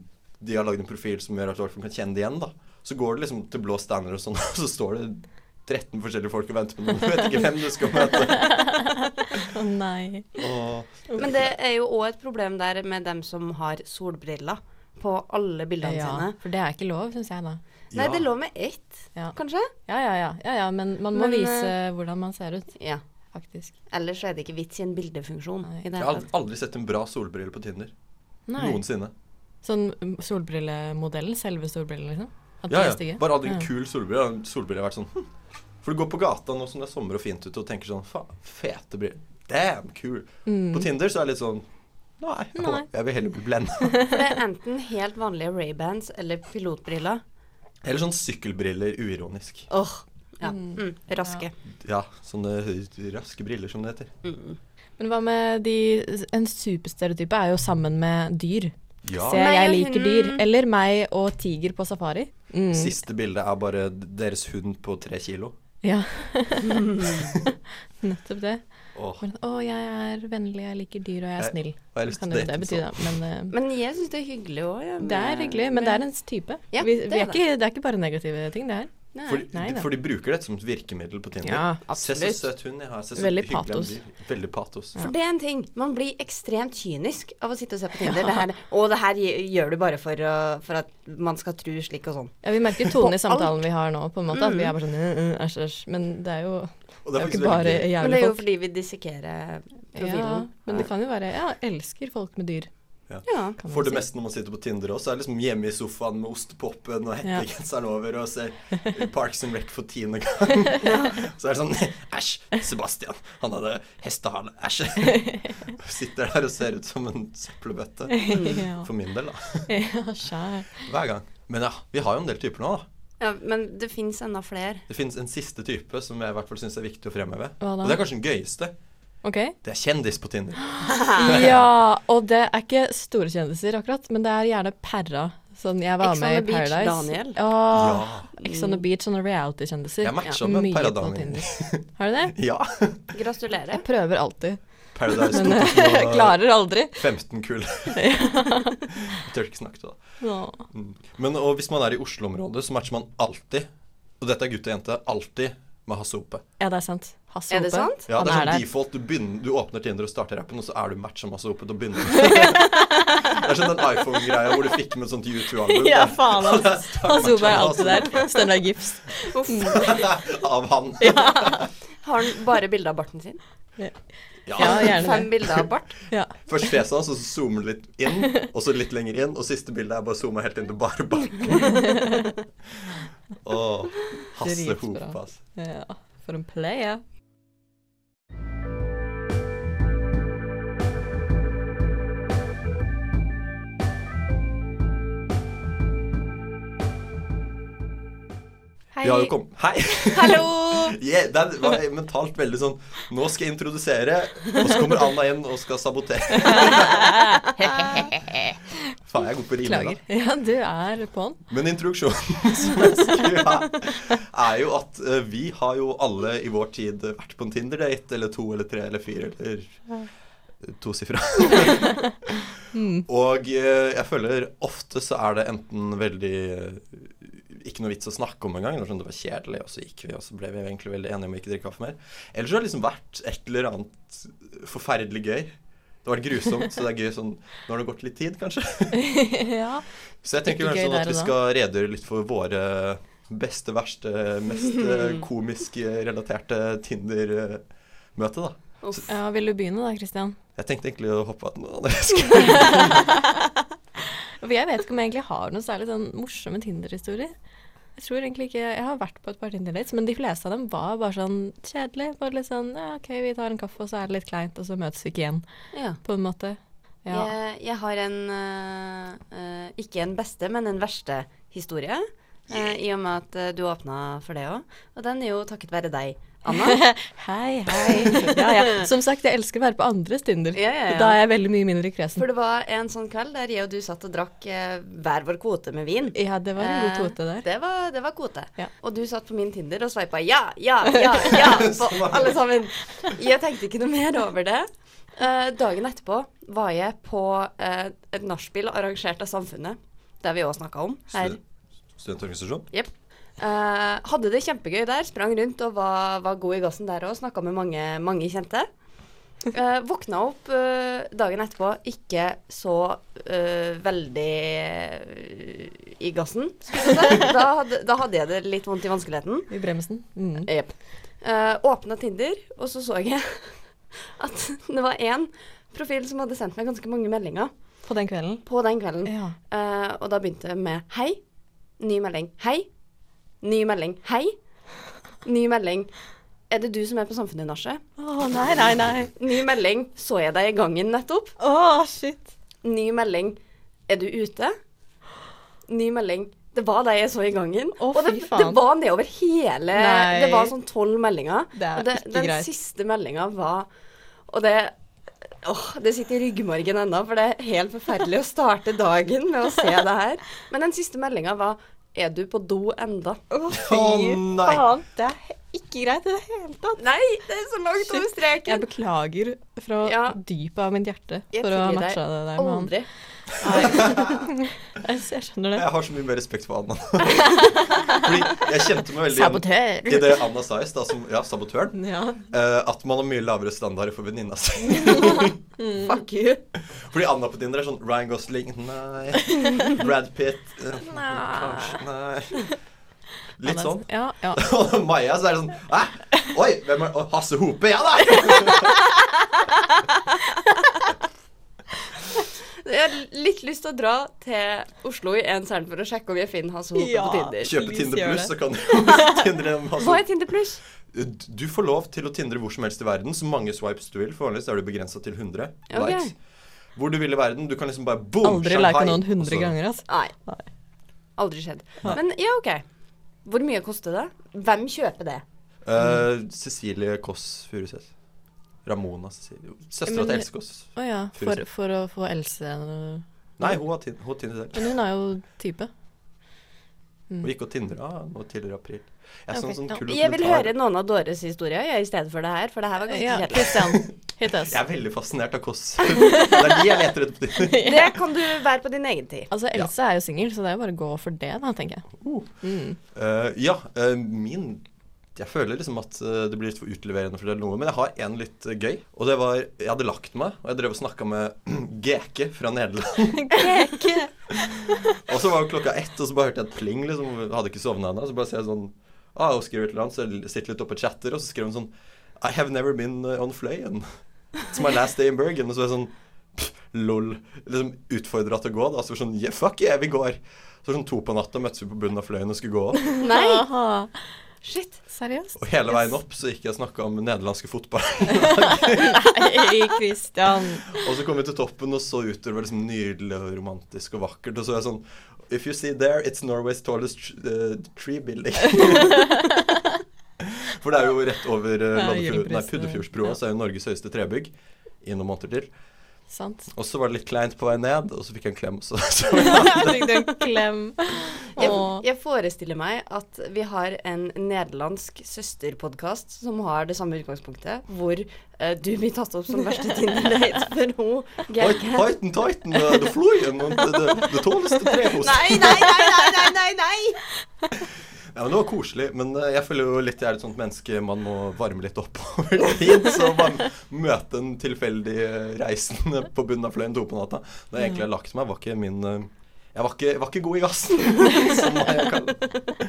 [SPEAKER 1] de har lagd en profil som gjør at folk kan kjenne det igjen, da. Så går du liksom til blå stander og sånn, og så står det 13 forskjellige folk og venter på noen. Du vet ikke hvem du skal møte.
[SPEAKER 2] Å nei.
[SPEAKER 1] Og,
[SPEAKER 3] Men det er jo òg et problem der med dem som har solbriller på alle bildene
[SPEAKER 2] Ja,
[SPEAKER 3] sine.
[SPEAKER 2] for det er ikke lov, syns jeg da.
[SPEAKER 3] Nei,
[SPEAKER 1] Ja.
[SPEAKER 3] det lå med ett,
[SPEAKER 2] Ja.
[SPEAKER 3] kanskje?
[SPEAKER 2] Ja, ja, ja, ja, ja men man må
[SPEAKER 3] Men, eh,
[SPEAKER 2] vise hvordan man ser ut,
[SPEAKER 3] Ja.
[SPEAKER 2] faktisk.
[SPEAKER 3] Ellers så er det ikke vits i en bildefunksjon.
[SPEAKER 2] Nei.
[SPEAKER 3] I det
[SPEAKER 1] jeg
[SPEAKER 3] hele
[SPEAKER 1] har
[SPEAKER 3] tatt.
[SPEAKER 1] aldri- aldri sett en bra solbrille på Tinder.
[SPEAKER 2] Nei.
[SPEAKER 1] Noensinne.
[SPEAKER 2] Sånn solbrillemodellen, selve solbrillen, liksom. At de
[SPEAKER 1] Ja,
[SPEAKER 2] er
[SPEAKER 1] ja.
[SPEAKER 2] stygge.
[SPEAKER 1] Bare aldri en
[SPEAKER 2] Ja.
[SPEAKER 1] kul solbrille. En solbrille har vært sånn hm. For du går på gata nå som det er sommer og fint ute, og tenker sånn faen, fete briller. Damn, kul.
[SPEAKER 2] Mm.
[SPEAKER 1] På Tinder så er det litt sånn Nei, jeg,
[SPEAKER 2] Nei.
[SPEAKER 1] jeg vil heller bli blenda.
[SPEAKER 3] For det er enten helt vanlige Ray-bands eller pilotbriller.
[SPEAKER 1] Eller sånn sykkelbriller uironisk.
[SPEAKER 3] Åh, ja. mm, Raske. Mm,
[SPEAKER 1] Ja, sånne raske briller som det heter.
[SPEAKER 2] Men hva med de En superstereotype er jo sammen med dyr.
[SPEAKER 1] Ja.
[SPEAKER 2] Se,
[SPEAKER 3] Meg
[SPEAKER 2] jeg
[SPEAKER 3] og
[SPEAKER 2] liker dyr.
[SPEAKER 3] hunden.
[SPEAKER 2] Eller meg og tiger på safari. Mm.
[SPEAKER 1] Siste bildet er bare deres hund på tre kilo.
[SPEAKER 2] Ja. Nettopp det.
[SPEAKER 1] Åh,
[SPEAKER 2] Bare, Å, jeg er vennlig, jeg liker dyr, og jeg er
[SPEAKER 1] Jeg-
[SPEAKER 2] snill.
[SPEAKER 1] og jeg har lyst
[SPEAKER 2] Kan
[SPEAKER 1] til å
[SPEAKER 2] jo det
[SPEAKER 1] date sånn.
[SPEAKER 2] bety, da. Men eh,
[SPEAKER 3] Men jeg syns det er hyggelig òg. Ja,
[SPEAKER 2] det er hyggelig. Men det er ens type.
[SPEAKER 3] Ja,
[SPEAKER 2] vi,
[SPEAKER 3] det
[SPEAKER 2] vi
[SPEAKER 3] er
[SPEAKER 2] er ikke, det er ikke bare negative ting, det her.
[SPEAKER 3] Nei.
[SPEAKER 1] for,
[SPEAKER 2] Nei da.
[SPEAKER 1] for de bruker dette som et virkemiddel på Tinder.
[SPEAKER 2] Ja,
[SPEAKER 1] Se så
[SPEAKER 3] absolutt.
[SPEAKER 1] søt hund jeg har. Se så
[SPEAKER 2] Veldig
[SPEAKER 1] hyggelig han
[SPEAKER 2] patos.
[SPEAKER 1] blir. Veldig patos.
[SPEAKER 3] For det er en ting. Man blir ekstremt kynisk av å sitte og se på Tinder. Det her, og det her gj- gjør du bare for, å- for at man skal tro slik og sånn.
[SPEAKER 2] Ja, vi merker tonen i samtalen vi har nå, på en måte. At vi er bare sånn
[SPEAKER 1] Mm,
[SPEAKER 2] øh, øh, æsj, æsj. Men det er jo,
[SPEAKER 1] Og
[SPEAKER 2] det er jo
[SPEAKER 1] faktisk
[SPEAKER 2] ikke bare
[SPEAKER 1] veldig gøy.
[SPEAKER 2] jævlige folk.
[SPEAKER 3] Men det er jo fordi vi dissekerer profilen.
[SPEAKER 2] Ja, men det kan jo være Ja, elsker folk med dyr.
[SPEAKER 3] Ja.
[SPEAKER 2] kan man
[SPEAKER 1] For det
[SPEAKER 2] si.
[SPEAKER 1] meste når man sitter på Tinder også, er det liksom hjemme i sofaen med ostepopen og hettegenseren over og ser Parks and Rec for tiende gang. Så er det sånn Æsj! Sebastian, han hadde hestehale. Æsj! Sitter der og ser ut som en søppelbøtte.
[SPEAKER 3] Mm.
[SPEAKER 2] ja.
[SPEAKER 1] For min del, da.
[SPEAKER 2] ja, skjær.
[SPEAKER 1] Hver gang. Men ja, vi har jo en del typer nå, da.
[SPEAKER 3] ja, men det fins enda flere.
[SPEAKER 1] Det fins en siste type som jeg i hvert fall syns er viktig å fremheve.
[SPEAKER 2] Hva da?
[SPEAKER 1] Og det er kanskje den gøyeste.
[SPEAKER 2] Ok.
[SPEAKER 1] Det er kjendis på Tinder.
[SPEAKER 2] Ja, og det er ikke store kjendiser akkurat, men det er gjerne perra. Sånn, jeg var
[SPEAKER 3] Ex on
[SPEAKER 2] med i
[SPEAKER 3] the beach,
[SPEAKER 2] Paradise.
[SPEAKER 3] Daniel.
[SPEAKER 2] Åh,
[SPEAKER 1] Ja.
[SPEAKER 2] Ex on the beach, sånne reality-kjendiser.
[SPEAKER 1] Jeg matcha med
[SPEAKER 2] Mye
[SPEAKER 1] Perra
[SPEAKER 2] på
[SPEAKER 1] Daniel.
[SPEAKER 2] Tinder. Har du det?
[SPEAKER 1] Ja.
[SPEAKER 3] Gratulerer.
[SPEAKER 2] Jeg prøver alltid.
[SPEAKER 1] Paradise
[SPEAKER 2] Men eh, jeg klarer aldri.
[SPEAKER 1] 2015-kull. Jeg tør ikke snakke til deg.
[SPEAKER 2] Nå.
[SPEAKER 1] Men og hvis man er i Oslo-området, så matcher man alltid, og dette er gutt og jente, alltid med Hasse Hope.
[SPEAKER 2] Ja, det er sant. Hasse
[SPEAKER 3] Er det
[SPEAKER 2] Hope,
[SPEAKER 3] sant?
[SPEAKER 1] Ja, det er
[SPEAKER 2] han
[SPEAKER 1] sånn
[SPEAKER 2] er der.
[SPEAKER 1] default. Du, begynner, du åpner Tinder og starter appen, og så er du matcha med Hasse Hope. Da begynner du. det er sånn den iPhone-greia hvor du fikk med et sånt U2-album.
[SPEAKER 2] Ja, faen.
[SPEAKER 1] Og der
[SPEAKER 2] ass.
[SPEAKER 1] starter
[SPEAKER 2] Hasse Hope er
[SPEAKER 1] matchen
[SPEAKER 2] alltid
[SPEAKER 1] med
[SPEAKER 2] der. Steinar Gips.
[SPEAKER 3] Uff.
[SPEAKER 1] Hasse Hope. Av han.
[SPEAKER 3] Har han bare bilde av barten sin?
[SPEAKER 2] Ja, gjerne
[SPEAKER 3] Fem
[SPEAKER 2] det.
[SPEAKER 3] bilder av bart?
[SPEAKER 2] Ja.
[SPEAKER 1] Først fjeset hans, og så zoomer det litt inn, og så litt lenger inn, og siste bildet er bare zooma helt inn til bare bakken. Åh, Hasse
[SPEAKER 2] Dritbra.
[SPEAKER 1] Hope, altså.
[SPEAKER 2] ja. For en player.
[SPEAKER 1] Vi har jo kom... Hei!
[SPEAKER 3] Hallo!
[SPEAKER 1] Yeah, det var mentalt veldig sånn Nå skal jeg introdusere, og så kommer Anna inn og skal sabotere. Faen, jeg er god på å rime,
[SPEAKER 2] Klager.
[SPEAKER 1] da.
[SPEAKER 2] Ja, du er på'n.
[SPEAKER 1] Men introduksjonen som jeg skulle ha, er jo at eh, vi har jo alle i vår tid vært på en Tinder-date, eller to eller tre eller fire eller tosifra. Og eh, jeg føler ofte så er det enten veldig eh, ikke noe vits å snakke om engang. Det var sånn, det var kjedelig, og så gikk vi, og så ble vi egentlig veldig enige om å ikke drikke kaffe mer. Eller så har det liksom vært et eller annet forferdelig gøy. Det har vært grusomt, så det er gøy sånn Nå har det gått litt tid, kanskje.
[SPEAKER 2] ja.
[SPEAKER 1] Så jeg tenker
[SPEAKER 2] Ikke
[SPEAKER 1] kanskje
[SPEAKER 2] gøy
[SPEAKER 1] sånn at
[SPEAKER 2] der
[SPEAKER 1] vi
[SPEAKER 2] og da.
[SPEAKER 1] skal redegjøre litt for våre beste, verste, mest eh, komisk eh, relaterte Tinder-møte, da.
[SPEAKER 3] Uff.
[SPEAKER 2] ja. Vil du begynne da, Christian?
[SPEAKER 1] Jeg tenkte egentlig å hoppe av noe annet. skulle-
[SPEAKER 2] For jeg vet ikke om jeg egentlig har noen særlig sånn morsomme Tinder-historier. Jeg tror egentlig ikke Jeg har vært på et par Tinder-dates, men de fleste av dem var bare sånn kjedelig. Bare litt sånn ja, OK, vi tar en kaffe, og så er det litt kleint, og så møtes vi ikke igjen,
[SPEAKER 3] Ja.
[SPEAKER 2] på en måte. Ja.
[SPEAKER 3] Jeg, jeg har en eh, eh, ikke en beste, men en verste historie. eh, I og med at eh, du åpna for det òg. Og den er jo takket være deg, Anna.
[SPEAKER 2] Hei, hei. Ja, ja. Som sagt, jeg elsker å være på andres Tinder.
[SPEAKER 3] Ja, ja, ja.
[SPEAKER 2] Da er jeg veldig mye mindre kresen.
[SPEAKER 3] For det var en sånn kveld der jeg og du satt og drakk eh, hver vår kvote med vin.
[SPEAKER 2] Ja, det var en god
[SPEAKER 3] Eh,
[SPEAKER 2] kvote der.
[SPEAKER 3] Det var, det var kvote.
[SPEAKER 2] Ja.
[SPEAKER 3] Og du satt på min Tinder og sveipa ja, ja, ja, ja på alle sammen. Jeg tenkte ikke noe mer over det. Eh, dagen etterpå var jeg på eh, et nachspiel arrangert av Samfunnet, der vi òg snakka om her.
[SPEAKER 1] Studentorganisasjon?
[SPEAKER 3] Jepp. Eh, hadde det kjempegøy der. Sprang rundt og var, var god i gassen der òg. Snakka med mange, mange kjente. Eh, våkna opp eh, dagen etterpå ikke så eh, veldig eh, i gassen. skulle jeg si. Da hadde, da hadde jeg det litt vondt i vanskeligheten.
[SPEAKER 2] I bremsen. Mm.
[SPEAKER 3] Jepp. Eh, Åpna Tinder, og så så jeg at det var én profil som hadde sendt meg ganske mange meldinger
[SPEAKER 2] På den kvelden.
[SPEAKER 3] på den kvelden.
[SPEAKER 2] Ja.
[SPEAKER 3] Eh, og da begynte jeg med hei, ny melding, hei, ny melding, hei, ny melding. Er det du som er på Samfunnet i nachspiel?
[SPEAKER 2] Å nei, nei, nei.
[SPEAKER 3] Ny melding, så jeg deg i gangen nettopp.
[SPEAKER 2] Å, shit.
[SPEAKER 3] Ny melding, er du ute? Ny melding, det var deg jeg så i gangen.
[SPEAKER 2] Å,
[SPEAKER 3] og det,
[SPEAKER 2] fy faen.
[SPEAKER 3] det var nedover hele
[SPEAKER 2] Nei.
[SPEAKER 3] Det var sånn tolv meldinger.
[SPEAKER 2] Det er
[SPEAKER 3] og det,
[SPEAKER 2] ikke
[SPEAKER 3] den
[SPEAKER 2] greit.
[SPEAKER 3] siste meldinga var Og det Åh, det sitter i ryggmargen ennå, for det er helt forferdelig å starte dagen med å se det her. Men den siste meldinga var Er du på do enda?
[SPEAKER 2] Å,
[SPEAKER 1] Å, nei.
[SPEAKER 2] faen. Det er he- ikke greit i det hele tatt.
[SPEAKER 3] Nei, det er så langt over
[SPEAKER 2] Jeg
[SPEAKER 3] streken.
[SPEAKER 2] beklager fra
[SPEAKER 3] Ja.
[SPEAKER 2] dypet av mitt hjerte
[SPEAKER 3] Jeg
[SPEAKER 2] for å ha
[SPEAKER 3] tilgir deg
[SPEAKER 2] matcha det der med han.
[SPEAKER 3] Aldri.
[SPEAKER 2] Jeg, jeg skjønner det.
[SPEAKER 1] Jeg har så mye mer respekt for Anna. Fordi jeg kjente meg veldig
[SPEAKER 2] Sabotør.
[SPEAKER 1] igjen i det Anna sa i stad, som ja, sabotøren.
[SPEAKER 2] Ja.
[SPEAKER 1] eh, at man har mye lavere standarder for venninna si.
[SPEAKER 3] Fuck you.
[SPEAKER 1] Fordi Anna på Tinder er sånn Ryan Gosling, nei. Brad Pitt, eh, kanskje, nei. Litt sånn.
[SPEAKER 2] Ja, ja.
[SPEAKER 1] Og Maja så er det sånn Hæ? Oi, hvem er Å, Hasse Hope? Ja da!
[SPEAKER 3] Det er lyst til å dra til Oslo i en cern for å sjekke om jeg finner Hasse Hope
[SPEAKER 2] Ja.
[SPEAKER 3] på Tinder.
[SPEAKER 1] Kjøpe
[SPEAKER 2] Please
[SPEAKER 1] Tinder
[SPEAKER 2] gjør
[SPEAKER 1] Pluss, så
[SPEAKER 2] det.
[SPEAKER 1] kan du tindre dem.
[SPEAKER 3] Hva
[SPEAKER 1] Altså,
[SPEAKER 3] er Tinder pluss?
[SPEAKER 1] du får lov til å tindre hvor som helst i verden, så mange swipes du vil. For vanligvis er du begrensa til 100
[SPEAKER 3] Ok.
[SPEAKER 1] likes. Hvor du vil i verden. Du kan liksom bare boom,
[SPEAKER 2] Aldri lika
[SPEAKER 1] Shanghai,
[SPEAKER 2] noen
[SPEAKER 1] og
[SPEAKER 2] hundre
[SPEAKER 1] så-
[SPEAKER 2] ganger, altså.
[SPEAKER 3] Nei.
[SPEAKER 2] Nei.
[SPEAKER 3] Aldri skjedd. Men ja, OK. Hvor mye koster det? Hvem kjøper det?
[SPEAKER 1] Eh, Cecilie Kåss Furuseth. Ramona Cecilie Søstera
[SPEAKER 2] Men-
[SPEAKER 1] til Else Kåss.
[SPEAKER 2] Å ja, for,
[SPEAKER 1] Tusen.
[SPEAKER 2] for å få Else
[SPEAKER 1] Nei, hun har tin- hun har Tinder selv.
[SPEAKER 2] Men hun er jo type.
[SPEAKER 3] Mm.
[SPEAKER 1] Hun gikk og tindra nå tidligere i april. Jeg, er sånn,
[SPEAKER 2] Ok,
[SPEAKER 1] sånn
[SPEAKER 2] ja.
[SPEAKER 1] kul
[SPEAKER 3] Jeg vil
[SPEAKER 1] dokumentar.
[SPEAKER 3] høre noen av Dores historier jeg, i stedet for det her, for det her var ganske
[SPEAKER 2] Ja,
[SPEAKER 3] kjedelig.
[SPEAKER 2] Kristian. Hit us.
[SPEAKER 1] Jeg er veldig fascinert av Kåss. det er de jeg leter etter på Tinder.
[SPEAKER 3] Det kan du være på din egen tid.
[SPEAKER 2] Altså, Else er jo singel, så det er jo bare å gå for det, da, tenker jeg.
[SPEAKER 1] Eh, ja, eh, min Jeg føler liksom at eh, det blir litt for utleverende for det eller noe, men jeg har en litt eh, gøy. Og det var Jeg hadde lagt meg, og jeg drev og snakka med Geke fra Nederland. og så var jo klokka ett, og så bare hørte jeg et pling, liksom. og Hadde ikke sovna ennå. Så bare ser jeg sånn ah, Hun skriver et eller annet, så jeg sitter litt oppe og chatter, og så skriver hun sånn I have never been eh, on Fløyen. It's my last day in Bergen. Og så var jeg sånn pff, Lol. Liksom utfordra til å gå, da. Så var jeg sånn yeah, Fuck yeah, vi går. Så var det sånn to på natta møttes vi på bunnen av Fløyen og skulle gå opp.
[SPEAKER 3] Nei,
[SPEAKER 2] Aha.
[SPEAKER 3] shit.
[SPEAKER 2] Seriøst?
[SPEAKER 1] Og hele veien opp så gikk jeg og snakka om nederlandske fotball.
[SPEAKER 2] Nei, Kristian.
[SPEAKER 1] og så kom vi til toppen og så ut, og det var liksom nydelig og romantisk og vakkert. Og så var jeg sånn If you see there, it's Norway's tallest tr- eh, tree building. For det er jo rett over eh,
[SPEAKER 2] Ja,
[SPEAKER 1] Loddefjord- nei,
[SPEAKER 2] Gyllenprisen,
[SPEAKER 1] Puddefjordsbroa,
[SPEAKER 2] ja.
[SPEAKER 1] så er jo Norges høyeste trebygg. I noen måneder til.
[SPEAKER 2] Sant.
[SPEAKER 1] Og så var det litt kleint på vei ned, og så fikk jeg en klem. Så, så.
[SPEAKER 2] Fikk du en klem?
[SPEAKER 3] Jeg,
[SPEAKER 2] Åh.
[SPEAKER 3] jeg forestiller meg at vi har en nederlandsk søsterpodkast som har det samme utgangspunktet, hvor eh, du blir tatt opp som verste Tinder-date for hun Geirke.
[SPEAKER 1] Titan, Titan, eh, the flyen, and the, the, the tallest trehus.
[SPEAKER 3] Nei, nei, nei, nei, nei, nei, nei!
[SPEAKER 1] Ja, men Det var koselig, men eh, jeg føler jo litt jeg er et sånt menneske man må varme litt opp over tid. Så man møte en tilfeldig eh, reisende på bunnen av fløyen to på natta. Da jeg egentlig har lagt meg, var ikke min eh, Jeg var ikke, var ikke god i gassen, som jeg kaller det.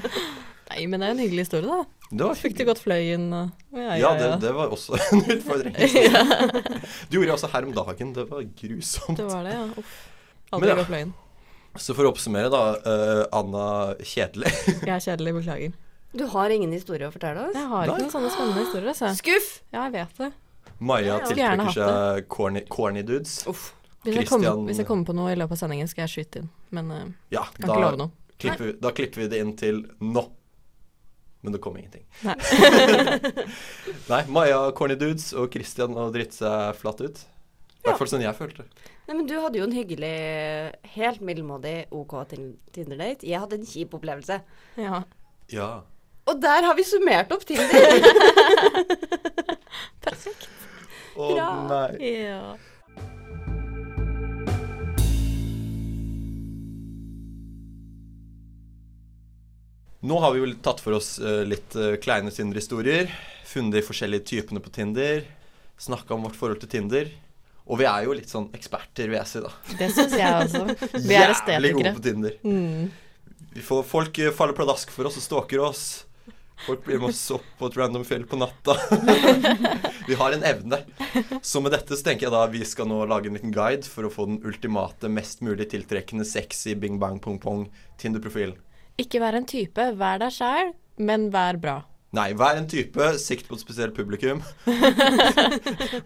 [SPEAKER 2] Nei, men det er en hyggelig historie, da.
[SPEAKER 1] Det var
[SPEAKER 2] Fikk du
[SPEAKER 1] hyggelig.
[SPEAKER 2] gått fløyen og Ja,
[SPEAKER 1] Ja, det, det var også en utfordring. Det gjorde jeg også her om dagen. Det var grusomt.
[SPEAKER 2] Det var det, ja. Uff.
[SPEAKER 1] Men
[SPEAKER 2] Aldri
[SPEAKER 1] ja.
[SPEAKER 2] gått fløyen.
[SPEAKER 1] Så for å oppsummere, da. eh, Anna Kjedelig.
[SPEAKER 2] Jeg er kjedelig, beklager.
[SPEAKER 3] Du har ingen historie å fortelle oss?
[SPEAKER 2] Jeg har
[SPEAKER 1] Nei.
[SPEAKER 2] ikke noen sånne spennende historier, altså.
[SPEAKER 3] Skuff!
[SPEAKER 2] Ja, jeg vet det.
[SPEAKER 1] Maja
[SPEAKER 2] Jeg skulle gjerne
[SPEAKER 1] tiltrekker
[SPEAKER 2] hatt
[SPEAKER 1] seg corny, corny dudes.
[SPEAKER 3] Uff.
[SPEAKER 2] Hvis jeg, kommer,
[SPEAKER 1] Christian-
[SPEAKER 2] hvis jeg kommer på noe i løpet av sendingen, skal jeg skyte inn. Men eh,
[SPEAKER 1] Ja,
[SPEAKER 2] kan ikke love noe.
[SPEAKER 1] klipper, vi- da klipper vi det inn til nå. Men det kom ingenting.
[SPEAKER 2] Nei.
[SPEAKER 1] Nei, Maja corny dudes og Christian å drite seg flatt ut. I hvert fall sånn jeg følte.
[SPEAKER 3] Nei, men du hadde jo en hyggelig, helt middelmådig OK tin- Tinder-date. Jeg hadde en kjip opplevelse.
[SPEAKER 2] Ja.
[SPEAKER 1] Ja.
[SPEAKER 3] Og der har vi summert opp Tinder!
[SPEAKER 1] Å nei.
[SPEAKER 2] Ja.
[SPEAKER 1] Nå har vi vel tatt for oss eh, litt eh, kleine Tinder-historier. Funnet de forskjellige typene på Tinder. Snakka om vårt forhold til Tinder. Og vi er jo litt sånn eksperter, vil jeg si, da.
[SPEAKER 2] Det syns jeg også. Vi
[SPEAKER 1] Jævlig gode
[SPEAKER 2] er estetikere.
[SPEAKER 1] på Tinder.
[SPEAKER 2] Mm.
[SPEAKER 1] Vi får, folk eh, faller pladask for oss og stalker oss. Folk blir med oss opp på et random fjell på natta. vi har en evne. Så med dette så tenker jeg da vi skal nå lage en liten guide for å få den ultimate, mest mulig tiltrekkende, sexy bing bang pong pong Tinder-profilen.
[SPEAKER 2] Ikke vær en type, vær deg sjæl, men vær bra.
[SPEAKER 1] Nei, vær en type, sikt på et spesielt publikum.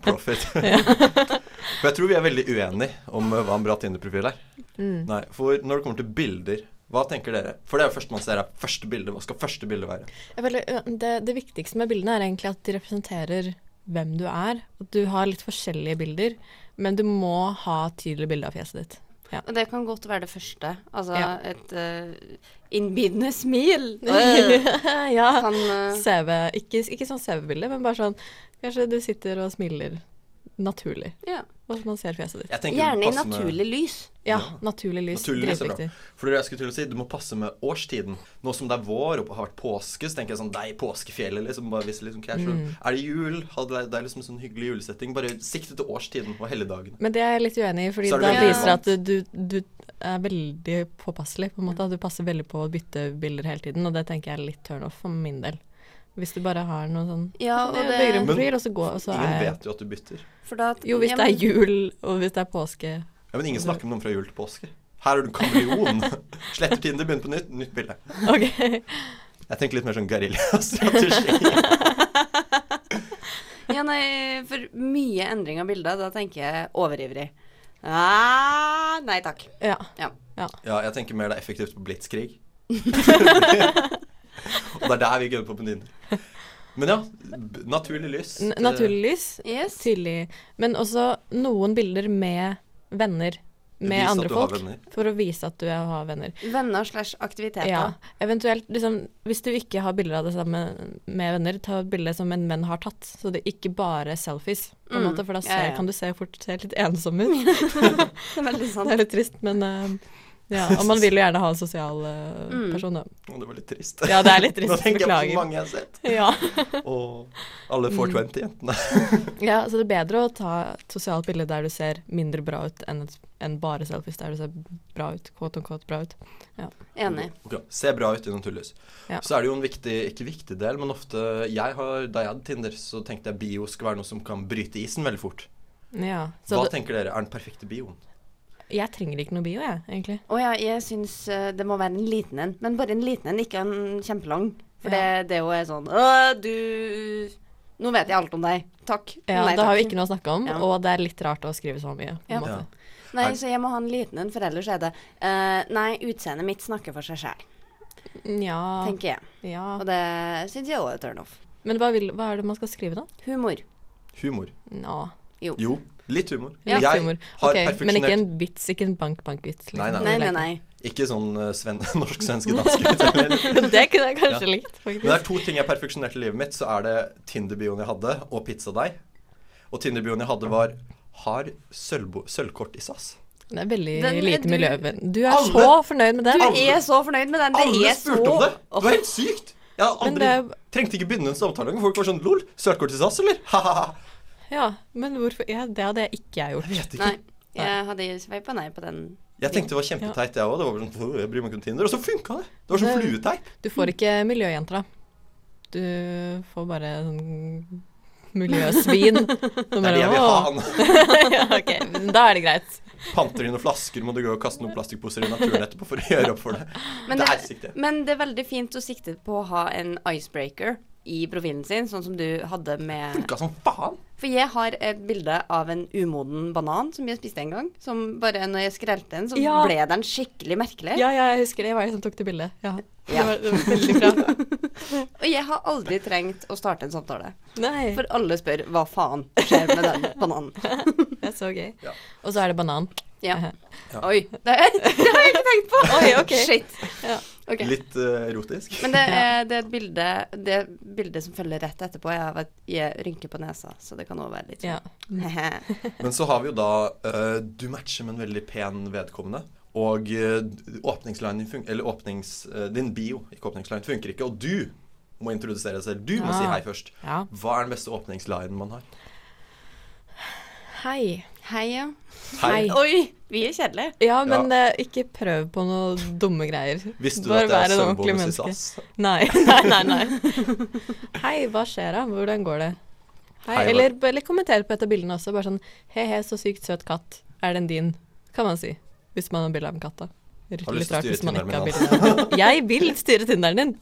[SPEAKER 1] Profit. For jeg tror vi er veldig uenige om eh, hva en bra Tinder-profil er. Nei, For når det kommer til bilder, hva tenker dere? For det er jo første man ser her. Første bilde, hva skal første bilde være?
[SPEAKER 2] Jeg føler, ø, det, det viktigste med bildene er egentlig at de representerer hvem du er. At du har litt forskjellige bilder, men du må ha tydelig bilde av fjeset ditt. Ja.
[SPEAKER 3] Og det kan godt være det første. Altså
[SPEAKER 2] Ja.
[SPEAKER 3] et eh, innbydende smil. Øh,
[SPEAKER 2] ja.
[SPEAKER 3] kan, eh,
[SPEAKER 2] CV. Ikke, ikke sånn CV-bilde, men bare sånn Kanskje du sitter og smiler naturlig,
[SPEAKER 3] ja.
[SPEAKER 2] og så man ser fjeset ditt.
[SPEAKER 1] Jeg tenker det
[SPEAKER 3] Gjerne i
[SPEAKER 1] passer med-
[SPEAKER 3] naturlig lys.
[SPEAKER 2] Ja, naturlig lys.
[SPEAKER 1] Naturlig lys er bra.
[SPEAKER 2] Dritriktig.
[SPEAKER 1] For det jeg skulle til å si, du må passe med årstiden. Nå som det er vår og har vært påske, så tenker jeg sånn Deg, påskefjellet, liksom. Bare hvis det liksom casual. Er det jul? Ha det det er liksom sånn hyggelig julesetting. Bare sikte til årstiden og helligdagene.
[SPEAKER 2] Men det er jeg litt uenig i, fordi
[SPEAKER 1] Så er det
[SPEAKER 2] da
[SPEAKER 1] veldig
[SPEAKER 2] viser det at du, du er veldig påpasselig, på en måte. At du passer veldig på å bytte bilder hele tiden, og det tenker jeg er litt turn off for min del. Hvis du bare har noe sånn
[SPEAKER 3] Ja, og
[SPEAKER 2] Jeg
[SPEAKER 3] det-
[SPEAKER 2] bygger en
[SPEAKER 1] Men-
[SPEAKER 2] profil, og så går og så
[SPEAKER 1] Ingen
[SPEAKER 2] er
[SPEAKER 1] vet jo at du bytter.
[SPEAKER 3] For da
[SPEAKER 2] Jo, hvis
[SPEAKER 3] ja,
[SPEAKER 2] det
[SPEAKER 3] men-
[SPEAKER 2] er jul, og hvis det er påske
[SPEAKER 1] Ja, men ingen snakker med noen fra jul til påske. Her er du kameleon. Sletter Tinder, begynner på nytt. Nytt bilde.
[SPEAKER 2] Ok.
[SPEAKER 1] Jeg tenker litt mer sånn geriljastrategi.
[SPEAKER 3] Ja, nei, for mye endring av bilder, da tenker jeg overivrig. Ah, nei takk.
[SPEAKER 2] Ja.
[SPEAKER 3] Ja.
[SPEAKER 1] Ja, jeg tenker mer det er effektivt på blitskrig. Og det er der vi gunner på på Tinder. Men ja, b- naturlig lys.
[SPEAKER 2] N naturlig lys,
[SPEAKER 3] Yes.
[SPEAKER 2] tydelig. Men også noen bilder med venner. Med
[SPEAKER 1] Vis at
[SPEAKER 2] andre
[SPEAKER 1] du har
[SPEAKER 2] folk.
[SPEAKER 1] venner.
[SPEAKER 2] For å vise at du er- har venner.
[SPEAKER 3] Venner slash aktiviteter.
[SPEAKER 2] Ja. Eventuelt, liksom, hvis du ikke har bilder av det sammen med venner, ta et bilde som en menn har tatt. Så det er ikke bare selfies, på en
[SPEAKER 3] Mm,
[SPEAKER 2] måte, for da
[SPEAKER 3] ja,
[SPEAKER 2] ser,
[SPEAKER 3] ja.
[SPEAKER 2] kan du se fort se litt ensom ut.
[SPEAKER 3] Det er Veldig sånn.
[SPEAKER 2] Det
[SPEAKER 3] sant.
[SPEAKER 2] er litt trist, men eh, ja, og man vil jo gjerne ha en sosial eh,
[SPEAKER 3] Mm.
[SPEAKER 2] person, da.
[SPEAKER 1] Å, Det var litt trist.
[SPEAKER 2] Ja, det er litt
[SPEAKER 1] Nå
[SPEAKER 2] trist.
[SPEAKER 1] tenker jeg på så
[SPEAKER 2] Beklager. Mm.
[SPEAKER 1] mange jeg har sett.
[SPEAKER 2] Ja.
[SPEAKER 1] Og alle 420-jentene.
[SPEAKER 2] ja, så det er bedre å ta et sosialt bilde der du ser mindre bra ut, enn et- enn bare selfies der du ser bra ut. Quote on quote bra ut.
[SPEAKER 3] Enig.
[SPEAKER 1] Bra. Se bra ut i naturlys.
[SPEAKER 2] Ja.
[SPEAKER 1] Så er det jo en viktig, ikke viktig del, men ofte jeg har, Da jeg hadde Tinder, så tenkte jeg bio skal være noe som kan bryte isen veldig fort.
[SPEAKER 2] Ja,
[SPEAKER 1] Hva
[SPEAKER 2] så det,
[SPEAKER 1] tenker dere er den perfekte bioen?
[SPEAKER 2] jeg trenger ikke noe bio, jeg, egentlig.
[SPEAKER 3] Å ja, jeg syns eh, det må være en liten en. Men bare en liten en, ikke en kjempelang. For
[SPEAKER 2] Ja.
[SPEAKER 3] det, det jo er sånn «Å, du Nå vet jeg alt om deg. Takk.
[SPEAKER 2] Ja,
[SPEAKER 3] Nei,
[SPEAKER 2] det har
[SPEAKER 3] takk.
[SPEAKER 2] vi ikke noe å snakke om,
[SPEAKER 3] Ja.
[SPEAKER 2] og det er litt rart å skrive så mye. På en
[SPEAKER 3] Ja.
[SPEAKER 2] måte.
[SPEAKER 3] Nei, så jeg må ha en liten en, for ellers er det eh, Nei, utseendet mitt snakker for seg sjæl,
[SPEAKER 2] Nja,
[SPEAKER 3] tenker jeg. Og
[SPEAKER 2] ja.
[SPEAKER 3] det syns jeg òg er turn off.
[SPEAKER 2] Men hva, vil, hva er det man skal skrive, da?
[SPEAKER 3] Humor.
[SPEAKER 1] Humor.
[SPEAKER 2] Nå.
[SPEAKER 1] Jo, litt humor.
[SPEAKER 2] Litt
[SPEAKER 1] Jeg
[SPEAKER 2] humor.
[SPEAKER 1] har
[SPEAKER 2] Ok, men
[SPEAKER 1] perfeksjonert
[SPEAKER 2] ikke en vits, ikke en liksom. bank-bank-vits.
[SPEAKER 1] Nei,
[SPEAKER 3] Nei, nei, nei.
[SPEAKER 1] Ikke sånn eh, sven norsk-svenske danske.
[SPEAKER 2] det kunne jeg kanskje likt, faktisk.
[SPEAKER 1] Men det er to ting jeg perfeksjonerte i livet mitt, så er det Tinder-bioen jeg hadde, og pizzadeig. Og Tinder-bioen jeg hadde, var har sølvbo- sølvkort i SAS.
[SPEAKER 2] Det er veldig
[SPEAKER 3] Den-
[SPEAKER 2] lite
[SPEAKER 3] du-
[SPEAKER 2] miljøvenn. Du er
[SPEAKER 1] Alle-
[SPEAKER 2] så fornøyd med
[SPEAKER 3] Du
[SPEAKER 2] den.
[SPEAKER 1] Alle-
[SPEAKER 3] er så fornøyd med den.
[SPEAKER 1] Alle
[SPEAKER 3] det er
[SPEAKER 1] spurte
[SPEAKER 3] så
[SPEAKER 1] om det! Det var helt sykt! Jeg hadde
[SPEAKER 2] Men
[SPEAKER 1] aldri,
[SPEAKER 2] det er-
[SPEAKER 1] trengte ikke begynne en samtale engang. Folk var sånn Lol, sølvkort i SAS, eller? Ha-ha-ha.
[SPEAKER 2] Ja, men hvorfor ja, Det hadde jeg ikke jeg gjort.
[SPEAKER 1] Jeg vet ikke.
[SPEAKER 3] Nei. Jeg hadde sveipa nei på den.
[SPEAKER 1] Jeg tenkte det var kjempeteit, jeg òg. Det var bare sånn, «Åh, jeg bryr meg ikke om Tinder. Og så funka det! Det var sånn
[SPEAKER 2] Det-
[SPEAKER 1] flueteip.
[SPEAKER 2] Du får ikke miljøjenter, da. Du får bare sånn miljøsvin.
[SPEAKER 1] Det er det jeg vil ha. altså. han.
[SPEAKER 2] ja, ok, men da er det greit.
[SPEAKER 1] Panter inn noen flasker, må du gå og kaste noen plastikkposer i naturen etterpå for å gjøre opp for det.
[SPEAKER 3] Men
[SPEAKER 1] det
[SPEAKER 3] det,
[SPEAKER 1] er siktig.
[SPEAKER 3] men det er veldig fint å sikte på å ha en icebreaker i profilen sin, sånn som du hadde med
[SPEAKER 1] Funka som faen!
[SPEAKER 3] For jeg har et bilde av en umoden banan som jeg spiste en gang. Som bare når jeg skrelte den, så
[SPEAKER 2] Ja.
[SPEAKER 3] ble den skikkelig merkelig.
[SPEAKER 2] Ja, ja, jeg husker det. Jeg var jeg som tok det bildet. Ja. Det,
[SPEAKER 3] Ja.
[SPEAKER 2] var, det var veldig bra.
[SPEAKER 3] Og jeg har aldri trengt å starte en samtale.
[SPEAKER 2] Nei,
[SPEAKER 3] For alle spør hva faen skjer med den bananen.
[SPEAKER 2] det er så gøy.
[SPEAKER 1] Ja.
[SPEAKER 2] Og så er det banan.
[SPEAKER 3] Ja.
[SPEAKER 1] Ja.
[SPEAKER 3] Oi. Det, det har jeg ikke tenkt på.
[SPEAKER 2] Oi, ok.
[SPEAKER 3] Shit.
[SPEAKER 2] Ja.
[SPEAKER 3] Ok.
[SPEAKER 1] Litt eh, erotisk.
[SPEAKER 3] Men det er, det er et bilde Det bildet som følger rett etterpå, er av at jeg rynker på nesa, så det kan også være litt
[SPEAKER 2] Ja. Mm.
[SPEAKER 3] sånn.
[SPEAKER 1] Men så har vi jo da eh, Du matcher med en veldig pen vedkommende. Og eh, åpningslinen din fun- Eller åpnings... eh, din bio, ikke åpningslinen, funker ikke. Og du må introdusere deg selv. Du må
[SPEAKER 2] Ja.
[SPEAKER 1] si hei først.
[SPEAKER 2] ja.
[SPEAKER 1] Hva er den beste åpningslinen man har?
[SPEAKER 2] Hei.
[SPEAKER 3] Hei, ja.
[SPEAKER 2] Hei.
[SPEAKER 3] Oi, vi er kjedelige.
[SPEAKER 2] Ja, men eh, ikke prøv på noen dumme greier.
[SPEAKER 1] Visste du
[SPEAKER 2] Bare
[SPEAKER 1] at det
[SPEAKER 2] vær
[SPEAKER 1] er
[SPEAKER 2] en ordentlig
[SPEAKER 1] sølvbonus i
[SPEAKER 2] menneske.
[SPEAKER 1] SAS?
[SPEAKER 2] Nei, nei, nei. nei. Hei, hva skjer da? Hvordan går det? Hei,
[SPEAKER 1] Hei, hva-
[SPEAKER 2] eller, eller kommenter på et av bildene også. Bare sånn he he, så sykt søt katt. Er den din? Kan man si. Hvis man har bilde av en katt, da. Litt
[SPEAKER 1] Har du lyst til å
[SPEAKER 2] rart
[SPEAKER 1] styre
[SPEAKER 2] hvis man ikke har
[SPEAKER 1] Tinderen
[SPEAKER 2] bilde av en katt. Jeg vil styre Tinderen din.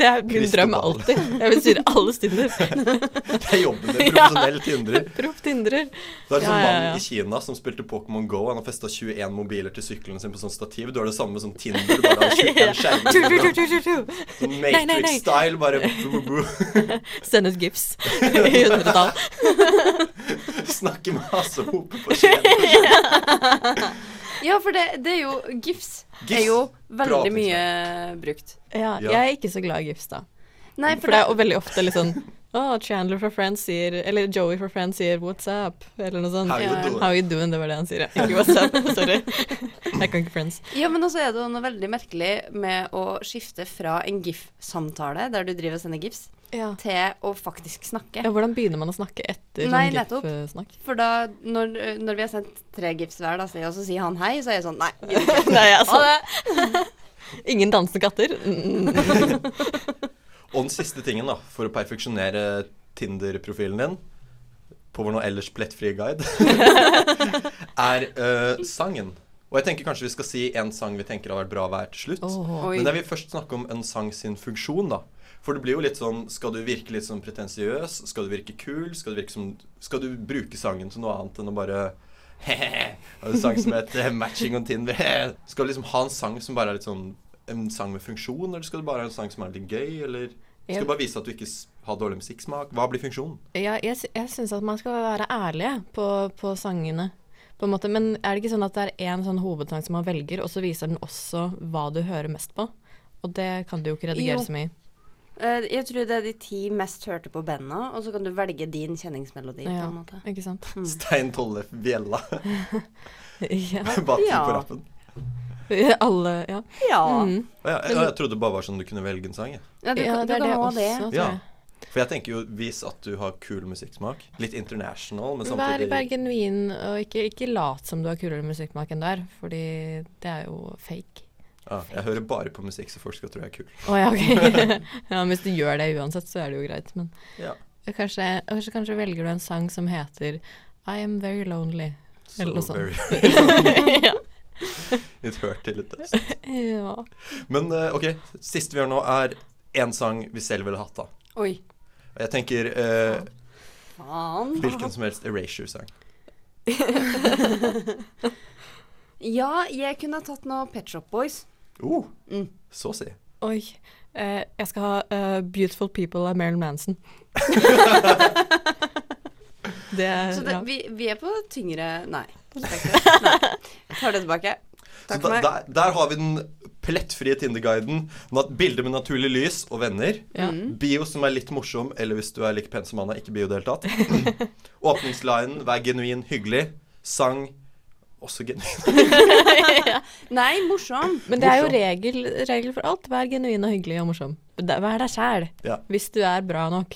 [SPEAKER 2] Det er min
[SPEAKER 1] Cristobal.
[SPEAKER 2] drøm alltid. Jeg vil styre alles Tinder.
[SPEAKER 1] Det er jobben din.
[SPEAKER 2] Ja.
[SPEAKER 1] Profesjonell tindrer.
[SPEAKER 2] Proff Tindrer.
[SPEAKER 1] Det er en
[SPEAKER 2] Ja,
[SPEAKER 1] sånn
[SPEAKER 2] ja,
[SPEAKER 1] mann
[SPEAKER 2] ja.
[SPEAKER 1] i Kina som spilte Pokémon Go. Han har festa 21 mobiler til sykkelen sin på sånn stativ. Du har det samme som Tinder, bare har 21
[SPEAKER 2] Tu, tu, tu,
[SPEAKER 1] skjermer.
[SPEAKER 2] tu, tu, tu.
[SPEAKER 1] Sånn
[SPEAKER 2] Nei, nei, nei.
[SPEAKER 1] Matrix-style, bare bu, bu, bu.
[SPEAKER 2] Send ut gifs i hundretall.
[SPEAKER 1] Snakke med Hasse Hope på skjermen.
[SPEAKER 3] Ja, for det, det er jo GIFs er
[SPEAKER 1] Gifs.
[SPEAKER 3] jo
[SPEAKER 1] Bra
[SPEAKER 3] veldig
[SPEAKER 1] oppfinnelse.
[SPEAKER 3] mye brukt.
[SPEAKER 2] Ja,
[SPEAKER 1] Ja.
[SPEAKER 2] jeg er ikke så glad i gifs, da.
[SPEAKER 3] Nei,
[SPEAKER 2] For det er jo veldig ofte litt sånn Å, Chandler fra Friends sier Eller Joey fra Friends sier 'What's up?' eller noe sånt.
[SPEAKER 1] How you
[SPEAKER 3] Ja.
[SPEAKER 1] doing?
[SPEAKER 2] How you doing? Det var det han sier. ja. Ikke what's up. Sorry. Jeg kan ikke Friends.
[SPEAKER 3] Ja, men også er det jo noe veldig merkelig med å skifte fra en GIF-samtale, der du driver og sender GIFs,
[SPEAKER 2] Ja.
[SPEAKER 3] til å faktisk snakke.
[SPEAKER 2] Hvordan begynner man å snakke etter
[SPEAKER 3] Nei,
[SPEAKER 2] sånn
[SPEAKER 3] nettopp.
[SPEAKER 2] GIF-snakk?
[SPEAKER 3] For da, når, når vi har sendt tre GIFs hver, da, sier jeg- og så sier han hei, så er jeg sånn Nei. gidder ikke.
[SPEAKER 2] Nei,
[SPEAKER 3] Ha
[SPEAKER 2] altså.
[SPEAKER 3] det.
[SPEAKER 2] Ingen dansende katter? Mm.
[SPEAKER 1] Og den siste tingen, da, for å perfeksjonere Tinder-profilen din på vår nå ellers plettfrie guide, er eh, sangen. Og jeg tenker kanskje vi skal si en sang vi tenker har vært bra hver til slutt.
[SPEAKER 2] Åh.
[SPEAKER 3] Oi.
[SPEAKER 1] Men jeg vil først snakke om en sang sin funksjon, da. For det blir jo litt sånn Skal du virke litt sånn pretensiøs? Skal du virke kul? Skal du, virke som, skal du bruke sangen til noe annet enn å bare He-he, har du en sang som heter 'Matching on Tinder'? He-he. Skal du liksom ha en sang som bare er litt sånn en sang med funksjon, eller skal du bare ha en sang som er litt gøy, eller Skal du bare vise at du ikke s- har dårlig musikksmak? Hva blir funksjonen?
[SPEAKER 2] Ja, jeg, sy- jeg syns at man skal være ærlige på, på sangene. På en måte. Men er det ikke sånn at det er én sånn hovedsang som man velger, og så viser den også hva du hører mest på? Og det kan du jo ikke redigere
[SPEAKER 3] Jo.
[SPEAKER 2] så mye.
[SPEAKER 3] Eh, jeg tror det er de ti mest hørte på banda, og så kan du velge din kjenningsmelodi. på
[SPEAKER 2] Ja,
[SPEAKER 3] en måte.
[SPEAKER 2] ikke sant?
[SPEAKER 3] Hmm.
[SPEAKER 1] Stein Tollef Bjella
[SPEAKER 2] Ja.
[SPEAKER 1] bak
[SPEAKER 3] Ja.
[SPEAKER 1] på rappen.
[SPEAKER 2] Alle Ja.
[SPEAKER 3] Ja.
[SPEAKER 2] Mm.
[SPEAKER 1] Og jeg, jeg, jeg trodde det bare var sånn du kunne velge en sang, jeg.
[SPEAKER 3] ja, du,
[SPEAKER 2] ja
[SPEAKER 3] kan- du
[SPEAKER 2] det er
[SPEAKER 3] kan
[SPEAKER 2] det
[SPEAKER 3] ha
[SPEAKER 2] også,
[SPEAKER 3] det.
[SPEAKER 2] tror
[SPEAKER 1] Ja.
[SPEAKER 2] jeg.
[SPEAKER 1] For jeg tenker jo vis at du har kul musikksmak. Litt international, men
[SPEAKER 2] Vær,
[SPEAKER 1] samtidig
[SPEAKER 2] vær genuin, og ikke, ikke lat som du har kulere musikksmak enn du er, fordi det er jo fake.
[SPEAKER 1] Ja, jeg hører bare på musikk så folk skal tro jeg er kul.
[SPEAKER 2] Å ja, ok. ja, men hvis du gjør det uansett, så er det jo greit, men
[SPEAKER 1] Ja.
[SPEAKER 2] kanskje, kanskje, kanskje velger du en sang som heter I am very lonely.
[SPEAKER 1] So
[SPEAKER 2] Eller noe sånt.
[SPEAKER 1] very
[SPEAKER 2] ja.
[SPEAKER 1] It hurt til litt.
[SPEAKER 2] ja.
[SPEAKER 1] Men eh, ok, siste vi gjør nå, er én sang vi selv ville hatt, da.
[SPEAKER 3] Oi.
[SPEAKER 1] Og Jeg tenker eh,
[SPEAKER 3] Faen.
[SPEAKER 1] hvilken som helst Erasure-sang.
[SPEAKER 3] Ja, jeg kunne ha tatt noe Pet Shop Boys.
[SPEAKER 1] Oh,
[SPEAKER 3] Mm.
[SPEAKER 1] så å si.
[SPEAKER 2] Oi. Eh, jeg skal ha eh, 'Beautiful People' av Marilyn Manson. det er
[SPEAKER 3] Så
[SPEAKER 2] Eh,
[SPEAKER 3] det,
[SPEAKER 2] ja.
[SPEAKER 3] vi, vi er på tyngre Nei. det er ikke det. Nei. Jeg Tar det tilbake.
[SPEAKER 1] Så
[SPEAKER 3] Takk for
[SPEAKER 1] da,
[SPEAKER 3] meg.
[SPEAKER 1] der, der har vi den plettfrie Tinder-guiden. nat- Bilder med naturlig lys og venner.
[SPEAKER 2] Ja.
[SPEAKER 3] Mm.
[SPEAKER 1] Bio som er litt morsom, eller hvis du er like pen som han er, ikke bio i det hele tatt. Åpningslinen, vær genuin, hyggelig. Sang, også genuin.
[SPEAKER 3] Nei, morsom.
[SPEAKER 2] Men det er jo
[SPEAKER 1] Morsom.
[SPEAKER 2] regel, regel for alt. Vær genuin og hyggelig og morsom. Da- Vær deg sjæl.
[SPEAKER 1] Ja.
[SPEAKER 2] Hvis du er bra nok.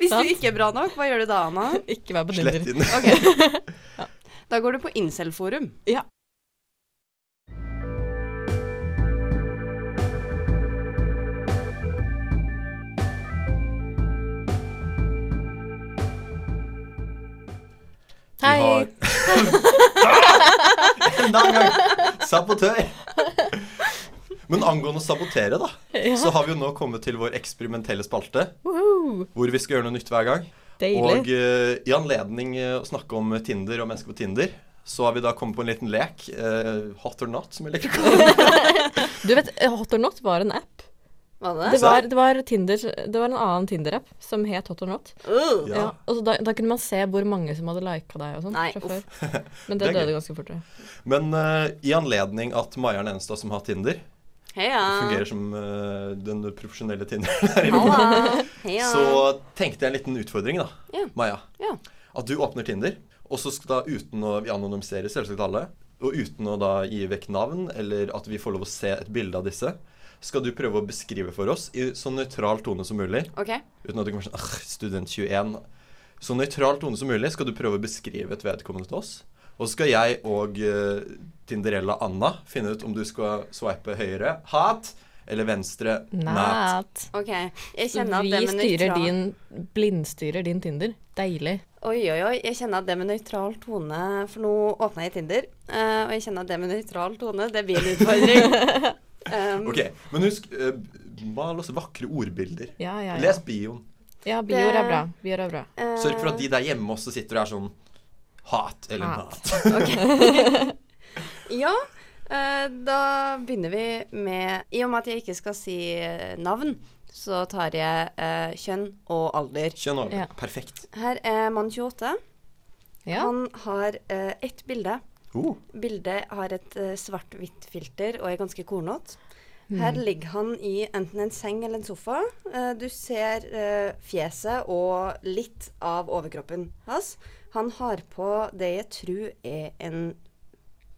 [SPEAKER 3] Hvis
[SPEAKER 2] Sant.
[SPEAKER 3] du ikke er bra nok, hva gjør du da, Anna?
[SPEAKER 2] Ikke vær på
[SPEAKER 1] Slett
[SPEAKER 2] Tinder.
[SPEAKER 1] inn.
[SPEAKER 3] Da går du på incel-forum.
[SPEAKER 2] Ja.
[SPEAKER 1] Vi har-
[SPEAKER 2] Hei.
[SPEAKER 1] Enda en gang! Sabotør. Men angående å sabotere, da, så har vi jo nå kommet til vår eksperimentelle spalte.
[SPEAKER 2] Woohoo.
[SPEAKER 1] Hvor vi skal gjøre noe nytt hver gang. Og
[SPEAKER 2] Deilig.
[SPEAKER 1] eh, i anledning eh, å snakke om Tinder og mennesker på Tinder, så har vi da kommet på en liten lek. eh, hot or not, som jeg liker å kalle det.
[SPEAKER 2] Du vet, eh, Hot or not var en app.
[SPEAKER 3] Hva
[SPEAKER 2] Det
[SPEAKER 3] det?
[SPEAKER 2] var, det var, Tinder, det var en annen Tinder-app som het Hot or not.
[SPEAKER 3] Uh.
[SPEAKER 1] Ja.
[SPEAKER 2] Ja. og så da, da kunne man se hvor mange som hadde lika deg og sånn
[SPEAKER 3] Nei,
[SPEAKER 2] fra
[SPEAKER 3] uff.
[SPEAKER 2] før. Men
[SPEAKER 1] Det
[SPEAKER 2] det
[SPEAKER 1] er gøy.
[SPEAKER 2] døde ganske fort. tror jeg.
[SPEAKER 1] Men eh, i anledning at Maja er den eneste som har Tinder,
[SPEAKER 3] Heia.
[SPEAKER 1] fungerer som eh, den profesjonelle Tinderen her i rommet,
[SPEAKER 3] Halla. Heia.
[SPEAKER 1] så tenkte jeg en liten utfordring, da.
[SPEAKER 3] Ja.
[SPEAKER 1] Maja.
[SPEAKER 3] Ja.
[SPEAKER 1] At du åpner Tinder, og så skal da uten å Vi anonymiserer selvsagt alle. Og uten å da gi vekk navn, eller at vi får lov å se et bilde av disse, skal du prøve å beskrive for oss i så nøytral tone som mulig.
[SPEAKER 3] OK.
[SPEAKER 1] Uten at du kommer sånn «Åh, Student 21. Så nøytral tone som mulig skal du prøve å beskrive et vedkommende til oss. Og så skal jeg og eh, Tinderella Anna finne ut om du skal swipe høyre hat eller venstre nat.
[SPEAKER 2] Nat.
[SPEAKER 3] Ok, jeg kjenner at det
[SPEAKER 2] Vi
[SPEAKER 3] med
[SPEAKER 2] styrer
[SPEAKER 3] nøytral-
[SPEAKER 2] din, blindstyrer din Tinder. Deilig.
[SPEAKER 3] Oi, oi, oi, jeg kjenner at det med nøytral tone For nå åpna jeg Tinder, eh, og jeg kjenner at det med nøytral tone, det blir en utfordring. Um,
[SPEAKER 1] Ok, Men husk, eh, mal oss vakre ordbilder.
[SPEAKER 2] Ja, ja, ja.
[SPEAKER 1] Les bioen.
[SPEAKER 2] ja bioer er bra. Bioer er bra.
[SPEAKER 3] eh,
[SPEAKER 1] Sørg for at de der hjemme også sitter og er sånn Hat eller
[SPEAKER 2] Hat.
[SPEAKER 1] nat.
[SPEAKER 3] Ja, eh, da begynner vi med I og med at jeg ikke skal si eh, navn, så tar jeg eh, kjønn og alder.
[SPEAKER 1] Kjønn over.
[SPEAKER 2] Ja.
[SPEAKER 1] Perfekt.
[SPEAKER 3] Her er mann 28.
[SPEAKER 2] Ja.
[SPEAKER 3] Han har eh, ett bilde.
[SPEAKER 1] Oh.
[SPEAKER 3] Bildet har et eh, svart-hvitt filter og er ganske kornete.
[SPEAKER 2] Mm.
[SPEAKER 3] Her ligger han i enten en seng eller en sofa. Eh, du ser eh, fjeset og litt av overkroppen hans. Han har på det jeg tror er en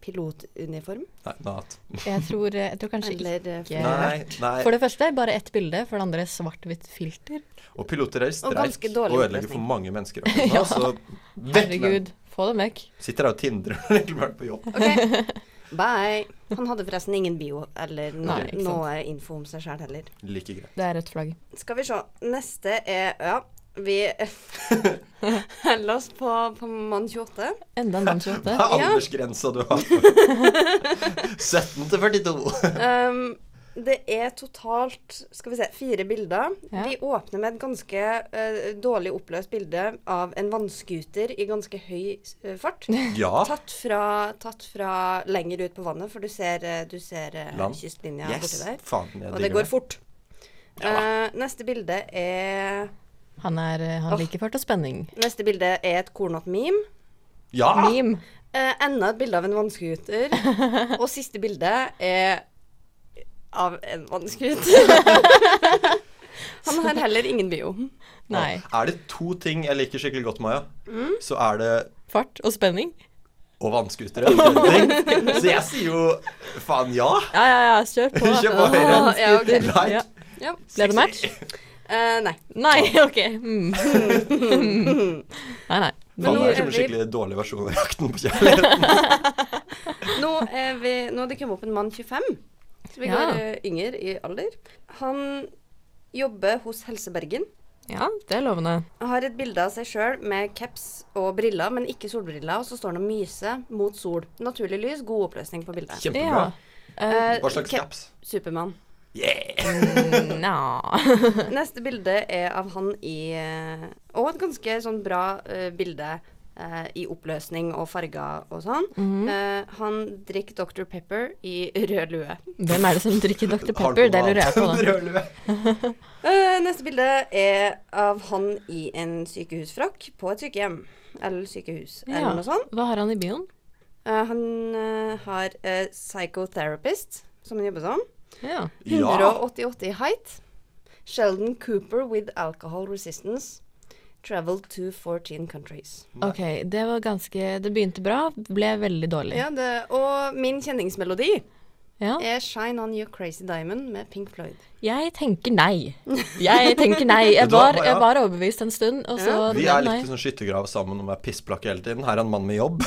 [SPEAKER 3] pilotuniform.
[SPEAKER 1] Nei, nat.
[SPEAKER 2] Jeg tror, jeg tror kanskje ikke
[SPEAKER 3] Eller eh,
[SPEAKER 2] Jeg har
[SPEAKER 1] Nei,
[SPEAKER 2] For
[SPEAKER 1] nei.
[SPEAKER 2] det første bare ett bilde, for det andre svart-hvitt filter.
[SPEAKER 1] Og piloter er i streik
[SPEAKER 3] ganske
[SPEAKER 1] og,
[SPEAKER 3] dårlig
[SPEAKER 1] ødelegger for
[SPEAKER 3] oppløsning.
[SPEAKER 1] mange mennesker. akkurat nå, Så vekk med dem.
[SPEAKER 2] Herregud, få dem vekk.
[SPEAKER 1] Sitter her og tindrer og har egentlig vært på jobb.
[SPEAKER 3] Ok. Bye. Han hadde forresten ingen bio eller no
[SPEAKER 2] Nei, ikke sant.
[SPEAKER 3] noe info om seg sjøl heller.
[SPEAKER 1] Like greit.
[SPEAKER 2] Det er rødt flagg.
[SPEAKER 3] Skal vi se. Neste er Ja, vi holder oss på, på mann 28.
[SPEAKER 2] Enda en mann 28.
[SPEAKER 1] Hva er
[SPEAKER 3] Ja.
[SPEAKER 1] aldersgrensa du har? 17 til 42.
[SPEAKER 3] Um, det er totalt skal vi se, fire bilder.
[SPEAKER 2] Ja.
[SPEAKER 3] Vi åpner med et ganske eh, dårlig oppløst bilde av en vannskuter i ganske høy eh, fart.
[SPEAKER 1] Ja.
[SPEAKER 3] Tatt fra, tatt fra lenger ut på vannet, for du ser, eh, du ser eh,
[SPEAKER 1] Land.
[SPEAKER 3] kystlinja
[SPEAKER 1] Yes.
[SPEAKER 3] borti der.
[SPEAKER 1] Faen, jeg
[SPEAKER 3] Og det
[SPEAKER 1] digger
[SPEAKER 3] går
[SPEAKER 1] det.
[SPEAKER 3] fort. Eh, neste, bilde er,
[SPEAKER 2] Han, er, eh, han
[SPEAKER 1] Ah.
[SPEAKER 3] Åh.
[SPEAKER 2] liker fart og spenning.
[SPEAKER 3] neste bilde er et kornete meme.
[SPEAKER 1] Ja!
[SPEAKER 2] Meme.
[SPEAKER 1] Ah.
[SPEAKER 3] Eh, enda et bilde av en vannskuter. Og siste bilde er av en vannskuter. Han har heller ingen bio.
[SPEAKER 2] Nei. Mm.
[SPEAKER 1] Er det to ting jeg liker skikkelig godt, Maja, så er det
[SPEAKER 2] Fart og spenning.
[SPEAKER 1] og vannskutere. Så jeg sier jo faen ja.
[SPEAKER 2] Ja, ja, ja, kjør på.
[SPEAKER 1] Kjør på, Høyre.
[SPEAKER 2] Åh, ja, ok.
[SPEAKER 1] Like.
[SPEAKER 2] Ja.
[SPEAKER 3] Ja.
[SPEAKER 2] Ble det match?
[SPEAKER 3] Eh, nei.
[SPEAKER 2] Nei, OK. Mm. Nei,
[SPEAKER 1] Faen,
[SPEAKER 2] nei. Men
[SPEAKER 1] det er som en skikkelig dårlig versjon av Jakten på kjærligheten.
[SPEAKER 3] Nå er, vi, nå er det kommet opp en mann 25, så vi
[SPEAKER 2] Ja.
[SPEAKER 3] går eh, yngre i alder. Han jobber hos Helse Bergen.
[SPEAKER 2] ja, det er lovende.
[SPEAKER 3] Har et bilde av seg sjøl med caps og briller, men ikke solbriller. Og så står han og myser mot sol. Naturlig lys, god oppløsning på bildet.
[SPEAKER 1] Kjempebra.
[SPEAKER 2] Ja. Eh,
[SPEAKER 3] Eh,
[SPEAKER 1] Hva slags
[SPEAKER 3] cap-
[SPEAKER 1] caps?
[SPEAKER 3] Supermann.
[SPEAKER 1] Yeah!
[SPEAKER 2] Mm, Nja
[SPEAKER 3] Neste bilde er av han i eh, Og et ganske sånn bra eh, bilde eh, i oppløsning og farger og sånn. Eh, han drikker Dr. Pepper i rød lue.
[SPEAKER 2] Hvem er det som drikker Dr. Pepper? Det lurer jeg på. da.
[SPEAKER 1] da.
[SPEAKER 3] Eh, neste bilde er av han i en sykehusfrakk på et sykehjem. Eller sykehus,
[SPEAKER 2] Ja.
[SPEAKER 3] eller noe sånt.
[SPEAKER 2] Hva har han i bioen?
[SPEAKER 3] Eh, han eh, har eh, psychotherapist, som han jobber som.
[SPEAKER 2] Ja.
[SPEAKER 1] Ja.
[SPEAKER 3] 188 i height. Sheldon Cooper with alcohol resistance. Traveled to 14 countries.
[SPEAKER 2] Ok, det var ganske Det begynte bra, ble veldig dårlig.
[SPEAKER 3] Ja, det, og min kjenningsmelodi
[SPEAKER 2] Ja.
[SPEAKER 3] er 'Shine On You Crazy Diamond' med Pink Floyd.
[SPEAKER 2] Jeg tenker nei. Jeg tenker nei. Jeg
[SPEAKER 1] Vet du hva,
[SPEAKER 2] var,
[SPEAKER 1] ja.
[SPEAKER 2] jeg var overbevist en stund, og så
[SPEAKER 1] Vi
[SPEAKER 2] ble
[SPEAKER 1] er
[SPEAKER 2] det nei.
[SPEAKER 1] litt sånn skyttergrav sammen og er pissplakke hele tiden. Her er en mann med jobb.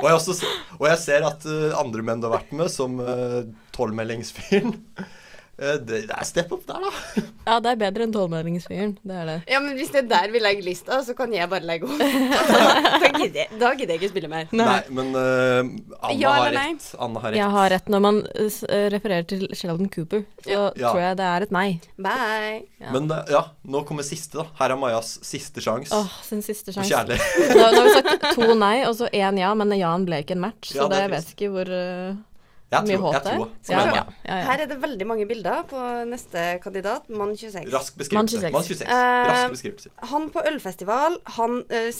[SPEAKER 1] og, jeg også, se- og jeg ser at eh, andre menn du har vært med, som eh, tolvmeldingsfyren eh, det, det er step up der, da.
[SPEAKER 2] Ja, det er bedre enn tolvmeldingsfyren. Det er det.
[SPEAKER 3] Ja, men hvis det er der vi legger lista, så kan jeg bare legge opp. da, gidder jeg, da gidder jeg ikke spille mer.
[SPEAKER 1] Nei, men eh, Anna,
[SPEAKER 3] Ja
[SPEAKER 1] har
[SPEAKER 3] eller nei?
[SPEAKER 1] rett. Anna har rett.
[SPEAKER 2] Jeg har rett. Når man eh, s- eh, refererer til Sheldon Cooper, så
[SPEAKER 1] Ja.
[SPEAKER 2] tror jeg det er et nei.
[SPEAKER 3] Bye.
[SPEAKER 2] Ja.
[SPEAKER 1] Men eh, ja, nå kommer siste, da. Her er Majas siste sjanse.
[SPEAKER 2] Åh, sin siste
[SPEAKER 1] på
[SPEAKER 2] sjanse.
[SPEAKER 1] Kjærlighet.
[SPEAKER 2] Nå, nå har vi sagt to nei, og så én ja, men ja-en ble ikke en match, så
[SPEAKER 1] Ja, det er
[SPEAKER 2] det, jeg vet ikke hvor eh,
[SPEAKER 1] Jeg
[SPEAKER 2] mye
[SPEAKER 1] tror,
[SPEAKER 2] håp
[SPEAKER 1] jeg
[SPEAKER 2] det er.
[SPEAKER 1] tror.
[SPEAKER 2] Ja,
[SPEAKER 1] Men,
[SPEAKER 2] ja, ja, ja.
[SPEAKER 3] Her er det veldig mange bilder på neste kandidat, mann 26.
[SPEAKER 1] Rask
[SPEAKER 2] Mann
[SPEAKER 1] beskrivelse.
[SPEAKER 2] 26.
[SPEAKER 1] Mann 26.
[SPEAKER 3] Eh,
[SPEAKER 1] Rask beskrivelse.
[SPEAKER 3] Han på ølfestival, han uh,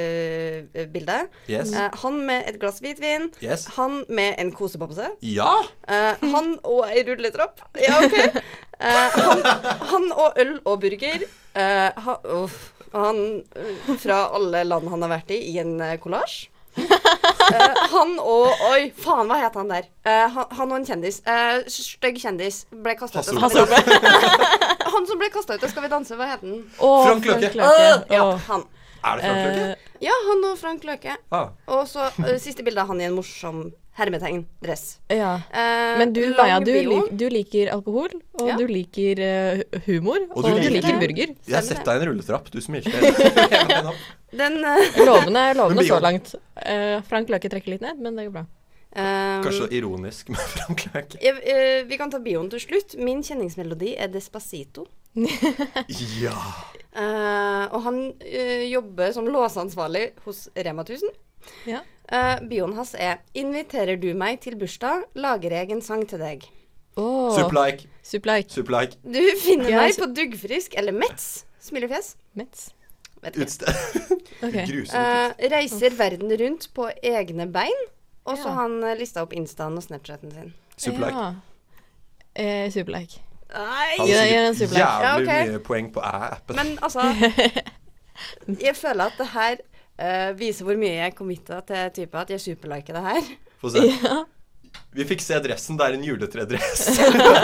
[SPEAKER 3] selfie-bildet.
[SPEAKER 1] Yes.
[SPEAKER 2] eh,
[SPEAKER 3] eh, han med et glass hvitvin.
[SPEAKER 1] Yes.
[SPEAKER 3] Han med en kosebamse.
[SPEAKER 1] Ja!
[SPEAKER 3] Eh, han og ei rulletrapp. Ja, OK. Eh, han, han og øl og burger. Eh, ha, uff. han eh, fra alle land han har vært i, i en eh, kollasj. Eh, han og Oi, faen, hva het han der? Eh, han, han og en kjendis. Uh, Stygg kjendis. Ble kasta ut. av
[SPEAKER 1] Hasse
[SPEAKER 3] Skal vi danse. Han som ble kasta ut av Skal vi danse, hva het han?
[SPEAKER 2] Åh,
[SPEAKER 1] Frank Løke.
[SPEAKER 2] Løke.
[SPEAKER 3] Ja,
[SPEAKER 2] Åh.
[SPEAKER 3] han.
[SPEAKER 1] Er det Frank Løke?
[SPEAKER 2] Eh,
[SPEAKER 3] Ja, han og Frank Løke.
[SPEAKER 1] Ah.
[SPEAKER 3] Og så eh, siste bilde av han i en morsom hermetegn-dress.
[SPEAKER 2] ja.
[SPEAKER 3] Eh,
[SPEAKER 2] Men du,
[SPEAKER 3] lang
[SPEAKER 2] Maja, du,
[SPEAKER 3] bio.
[SPEAKER 2] lik, du liker alkohol, og
[SPEAKER 3] Ja.
[SPEAKER 2] du liker eh, humor, og, du, liker, burger.
[SPEAKER 1] Jeg har
[SPEAKER 3] Stemmer
[SPEAKER 1] sett
[SPEAKER 3] det.
[SPEAKER 1] deg i en rulletrapp. Du smilte. hele veien opp.
[SPEAKER 3] Den eh,
[SPEAKER 2] Lovende, lovende
[SPEAKER 1] Men bio-
[SPEAKER 2] så langt. Eh, Frank Løke trekker litt ned, men det går bra.
[SPEAKER 3] ehm,
[SPEAKER 1] Kanskje ironisk med Frank Løke.
[SPEAKER 3] jeg, eh, vi kan ta bioen til slutt. Min kjenningsmelodi er Despacito.
[SPEAKER 1] Ja.
[SPEAKER 3] Eh, og han eh, jobber som låseansvarlig hos Rema 1000.
[SPEAKER 2] Ja.
[SPEAKER 3] Eh, bioen hans er 'Inviterer du meg til bursdag, lager jeg en sang til deg'.
[SPEAKER 2] Oh,
[SPEAKER 1] Supplike,
[SPEAKER 2] Supplike.
[SPEAKER 1] supplike,
[SPEAKER 3] Du finner
[SPEAKER 2] Ja,
[SPEAKER 3] meg
[SPEAKER 2] så-
[SPEAKER 3] på Duggfrisk eller Metz. Smilefjes.
[SPEAKER 2] Mets.
[SPEAKER 3] Vet ikke.
[SPEAKER 1] utsted
[SPEAKER 2] Ok.
[SPEAKER 1] Grusomt.
[SPEAKER 3] Eh, reiser verden rundt på egne bein. Og så
[SPEAKER 2] Ja.
[SPEAKER 3] har han eh, lista opp Instaen og Snapchaten sin.
[SPEAKER 1] Supplike.
[SPEAKER 2] Ja. Eh, Supplike.
[SPEAKER 1] Han
[SPEAKER 3] Nei!
[SPEAKER 2] Ja, ja,
[SPEAKER 1] har
[SPEAKER 2] en
[SPEAKER 1] sikkert
[SPEAKER 2] supplike.
[SPEAKER 3] Ja,
[SPEAKER 1] jævlig
[SPEAKER 3] ok.
[SPEAKER 1] mye poeng på æ-appen.
[SPEAKER 3] Men altså Jeg føler at det her eh, viser hvor mye jeg committa til type at jeg superliker det her.
[SPEAKER 1] Få se. Vi fikk se dressen. Det er en juletredress.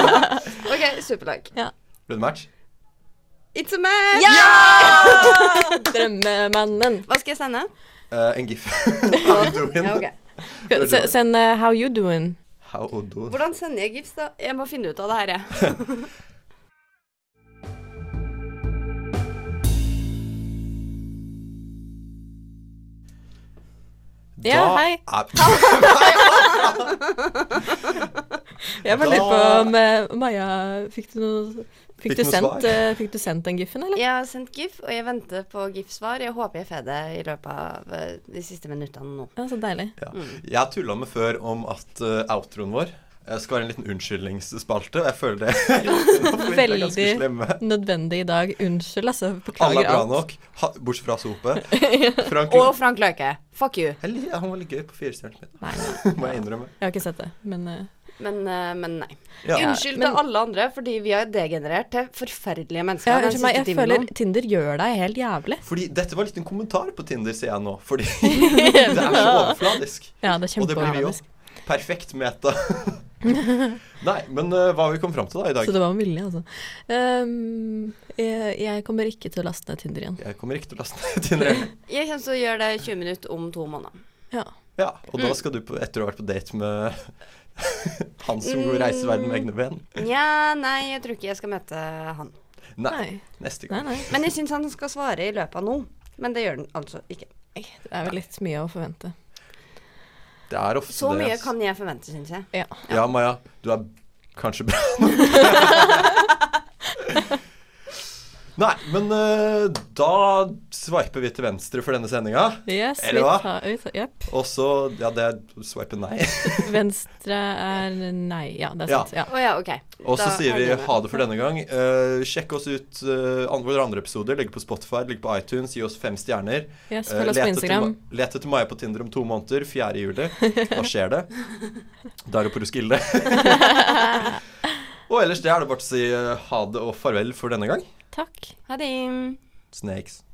[SPEAKER 3] OK, superlike.
[SPEAKER 1] Ble det match?
[SPEAKER 3] It's a man!
[SPEAKER 2] Drømmemannen.
[SPEAKER 3] Hva skal jeg sende?
[SPEAKER 1] eh, en gif. How you doing?
[SPEAKER 3] Ja, ok.
[SPEAKER 2] S- Send eh, 'How you doing'.
[SPEAKER 1] How do?
[SPEAKER 3] Hvordan sender jeg gifs, da? Jeg må finne ut av det her, jeg.
[SPEAKER 2] Ja, hei.
[SPEAKER 1] Er,
[SPEAKER 2] Jeg bare
[SPEAKER 1] Da-
[SPEAKER 2] lurer på om eh, Maja Fikk du noe Fikk,
[SPEAKER 1] Ah. Fikk
[SPEAKER 2] du
[SPEAKER 1] noe
[SPEAKER 2] sendt,
[SPEAKER 1] svar?
[SPEAKER 2] eh, fikk du sendt den giffen, eller?
[SPEAKER 3] Jeg har sendt gif, og jeg venter på gif-svar. Jeg håper jeg får det i løpet av eh, de siste minuttene nå.
[SPEAKER 2] Ja, så deilig.
[SPEAKER 1] ja. Jeg tulla med før om at eh, outroen vår eh, skal være en liten unnskyldningsspalte. Og jeg føler det er ganske
[SPEAKER 2] Veldig.
[SPEAKER 1] slemme.
[SPEAKER 2] Nødvendig i dag. Unnskyld, altså.
[SPEAKER 1] Alle
[SPEAKER 2] Beklager
[SPEAKER 1] er bra
[SPEAKER 2] alt.
[SPEAKER 1] nok, ha, bortsett fra Sope. Frank
[SPEAKER 3] Og Frank Løke. Fuck you.
[SPEAKER 1] Jeg lik- Han var litt gøy på firestjernet mitt,
[SPEAKER 2] Nei, nei,
[SPEAKER 1] må jeg innrømme.
[SPEAKER 2] jeg har ikke sett det, men eh,
[SPEAKER 3] Men, eh, men nei.
[SPEAKER 1] Ja.
[SPEAKER 3] Unnskyld
[SPEAKER 2] men-
[SPEAKER 3] til alle andre, fordi vi har degenerert til forferdelige mennesker.
[SPEAKER 2] ja,
[SPEAKER 3] den
[SPEAKER 2] Unnskyld meg,
[SPEAKER 3] siste
[SPEAKER 2] jeg
[SPEAKER 3] timen
[SPEAKER 2] føler
[SPEAKER 3] nå.
[SPEAKER 2] Tinder gjør deg helt jævlig.
[SPEAKER 1] Fordi dette var litt en kommentar på Tinder, sier jeg nå. Fordi det er så overfladisk.
[SPEAKER 2] Ja, det er
[SPEAKER 1] Og det blir vi jo.
[SPEAKER 2] kjempeorganisk.
[SPEAKER 1] Perfekt meta. Nei, men eh, hva har vi kommet fram til da i dag?
[SPEAKER 2] Så det var med vilje, altså. Ehm, jeg, jeg kommer ikke til å laste ned Tinder igjen.
[SPEAKER 1] Jeg kommer ikke til å laste ned Tinder. heller.
[SPEAKER 3] Jeg kommer til å gjøre det 20 minutter om to måneder.
[SPEAKER 2] Ja.
[SPEAKER 1] Ja, og da skal du på, etter å ha vært på date med han som
[SPEAKER 3] Mm.
[SPEAKER 1] reiser verden med egne ben.
[SPEAKER 3] Nja, nei, jeg tror ikke jeg skal møte han.
[SPEAKER 1] Nei,
[SPEAKER 2] Nei.
[SPEAKER 1] neste
[SPEAKER 2] Nei,
[SPEAKER 1] gang.
[SPEAKER 2] nei.
[SPEAKER 3] Men jeg syns han skal svare i løpet av nå. Men det gjør han altså ikke.
[SPEAKER 2] Det er vel litt mye å forvente.
[SPEAKER 1] Det er ofte
[SPEAKER 3] Så
[SPEAKER 1] det.
[SPEAKER 3] mye
[SPEAKER 1] ass.
[SPEAKER 3] kan jeg forvente, syns jeg.
[SPEAKER 2] Ja.
[SPEAKER 1] Ja, Maja, du er kanskje bra nok. Nei, men eh, da sveiper vi til venstre for denne sendinga.
[SPEAKER 2] Yes,
[SPEAKER 1] Eller hva?
[SPEAKER 2] vi tar, ja.
[SPEAKER 1] Og så Ja, det er sveipe nei.
[SPEAKER 2] Venstre er nei. Ja, det er
[SPEAKER 1] Ja.
[SPEAKER 2] sant. Ja.
[SPEAKER 3] Å ja, ok.
[SPEAKER 1] Og så
[SPEAKER 3] Da
[SPEAKER 1] sier
[SPEAKER 3] er
[SPEAKER 1] vi
[SPEAKER 3] det med.
[SPEAKER 1] ha det for denne gang. Eh, sjekk oss ut eh, an- våre andre episoder. Ligger på Spotify, ligger på iTunes. Gi oss fem stjerner.
[SPEAKER 2] Yes,
[SPEAKER 1] Eh,
[SPEAKER 2] følg oss
[SPEAKER 1] let
[SPEAKER 2] på
[SPEAKER 1] etter
[SPEAKER 2] Instagram.
[SPEAKER 1] Ma- Let etter Maja på Tinder om to måneder, 4. juli. Da skjer det. Da er det på Roskilde. og ellers det er det bare å si eh, ha det og farvel for denne gang.
[SPEAKER 2] Takk.
[SPEAKER 3] Ha det.
[SPEAKER 1] Snakes.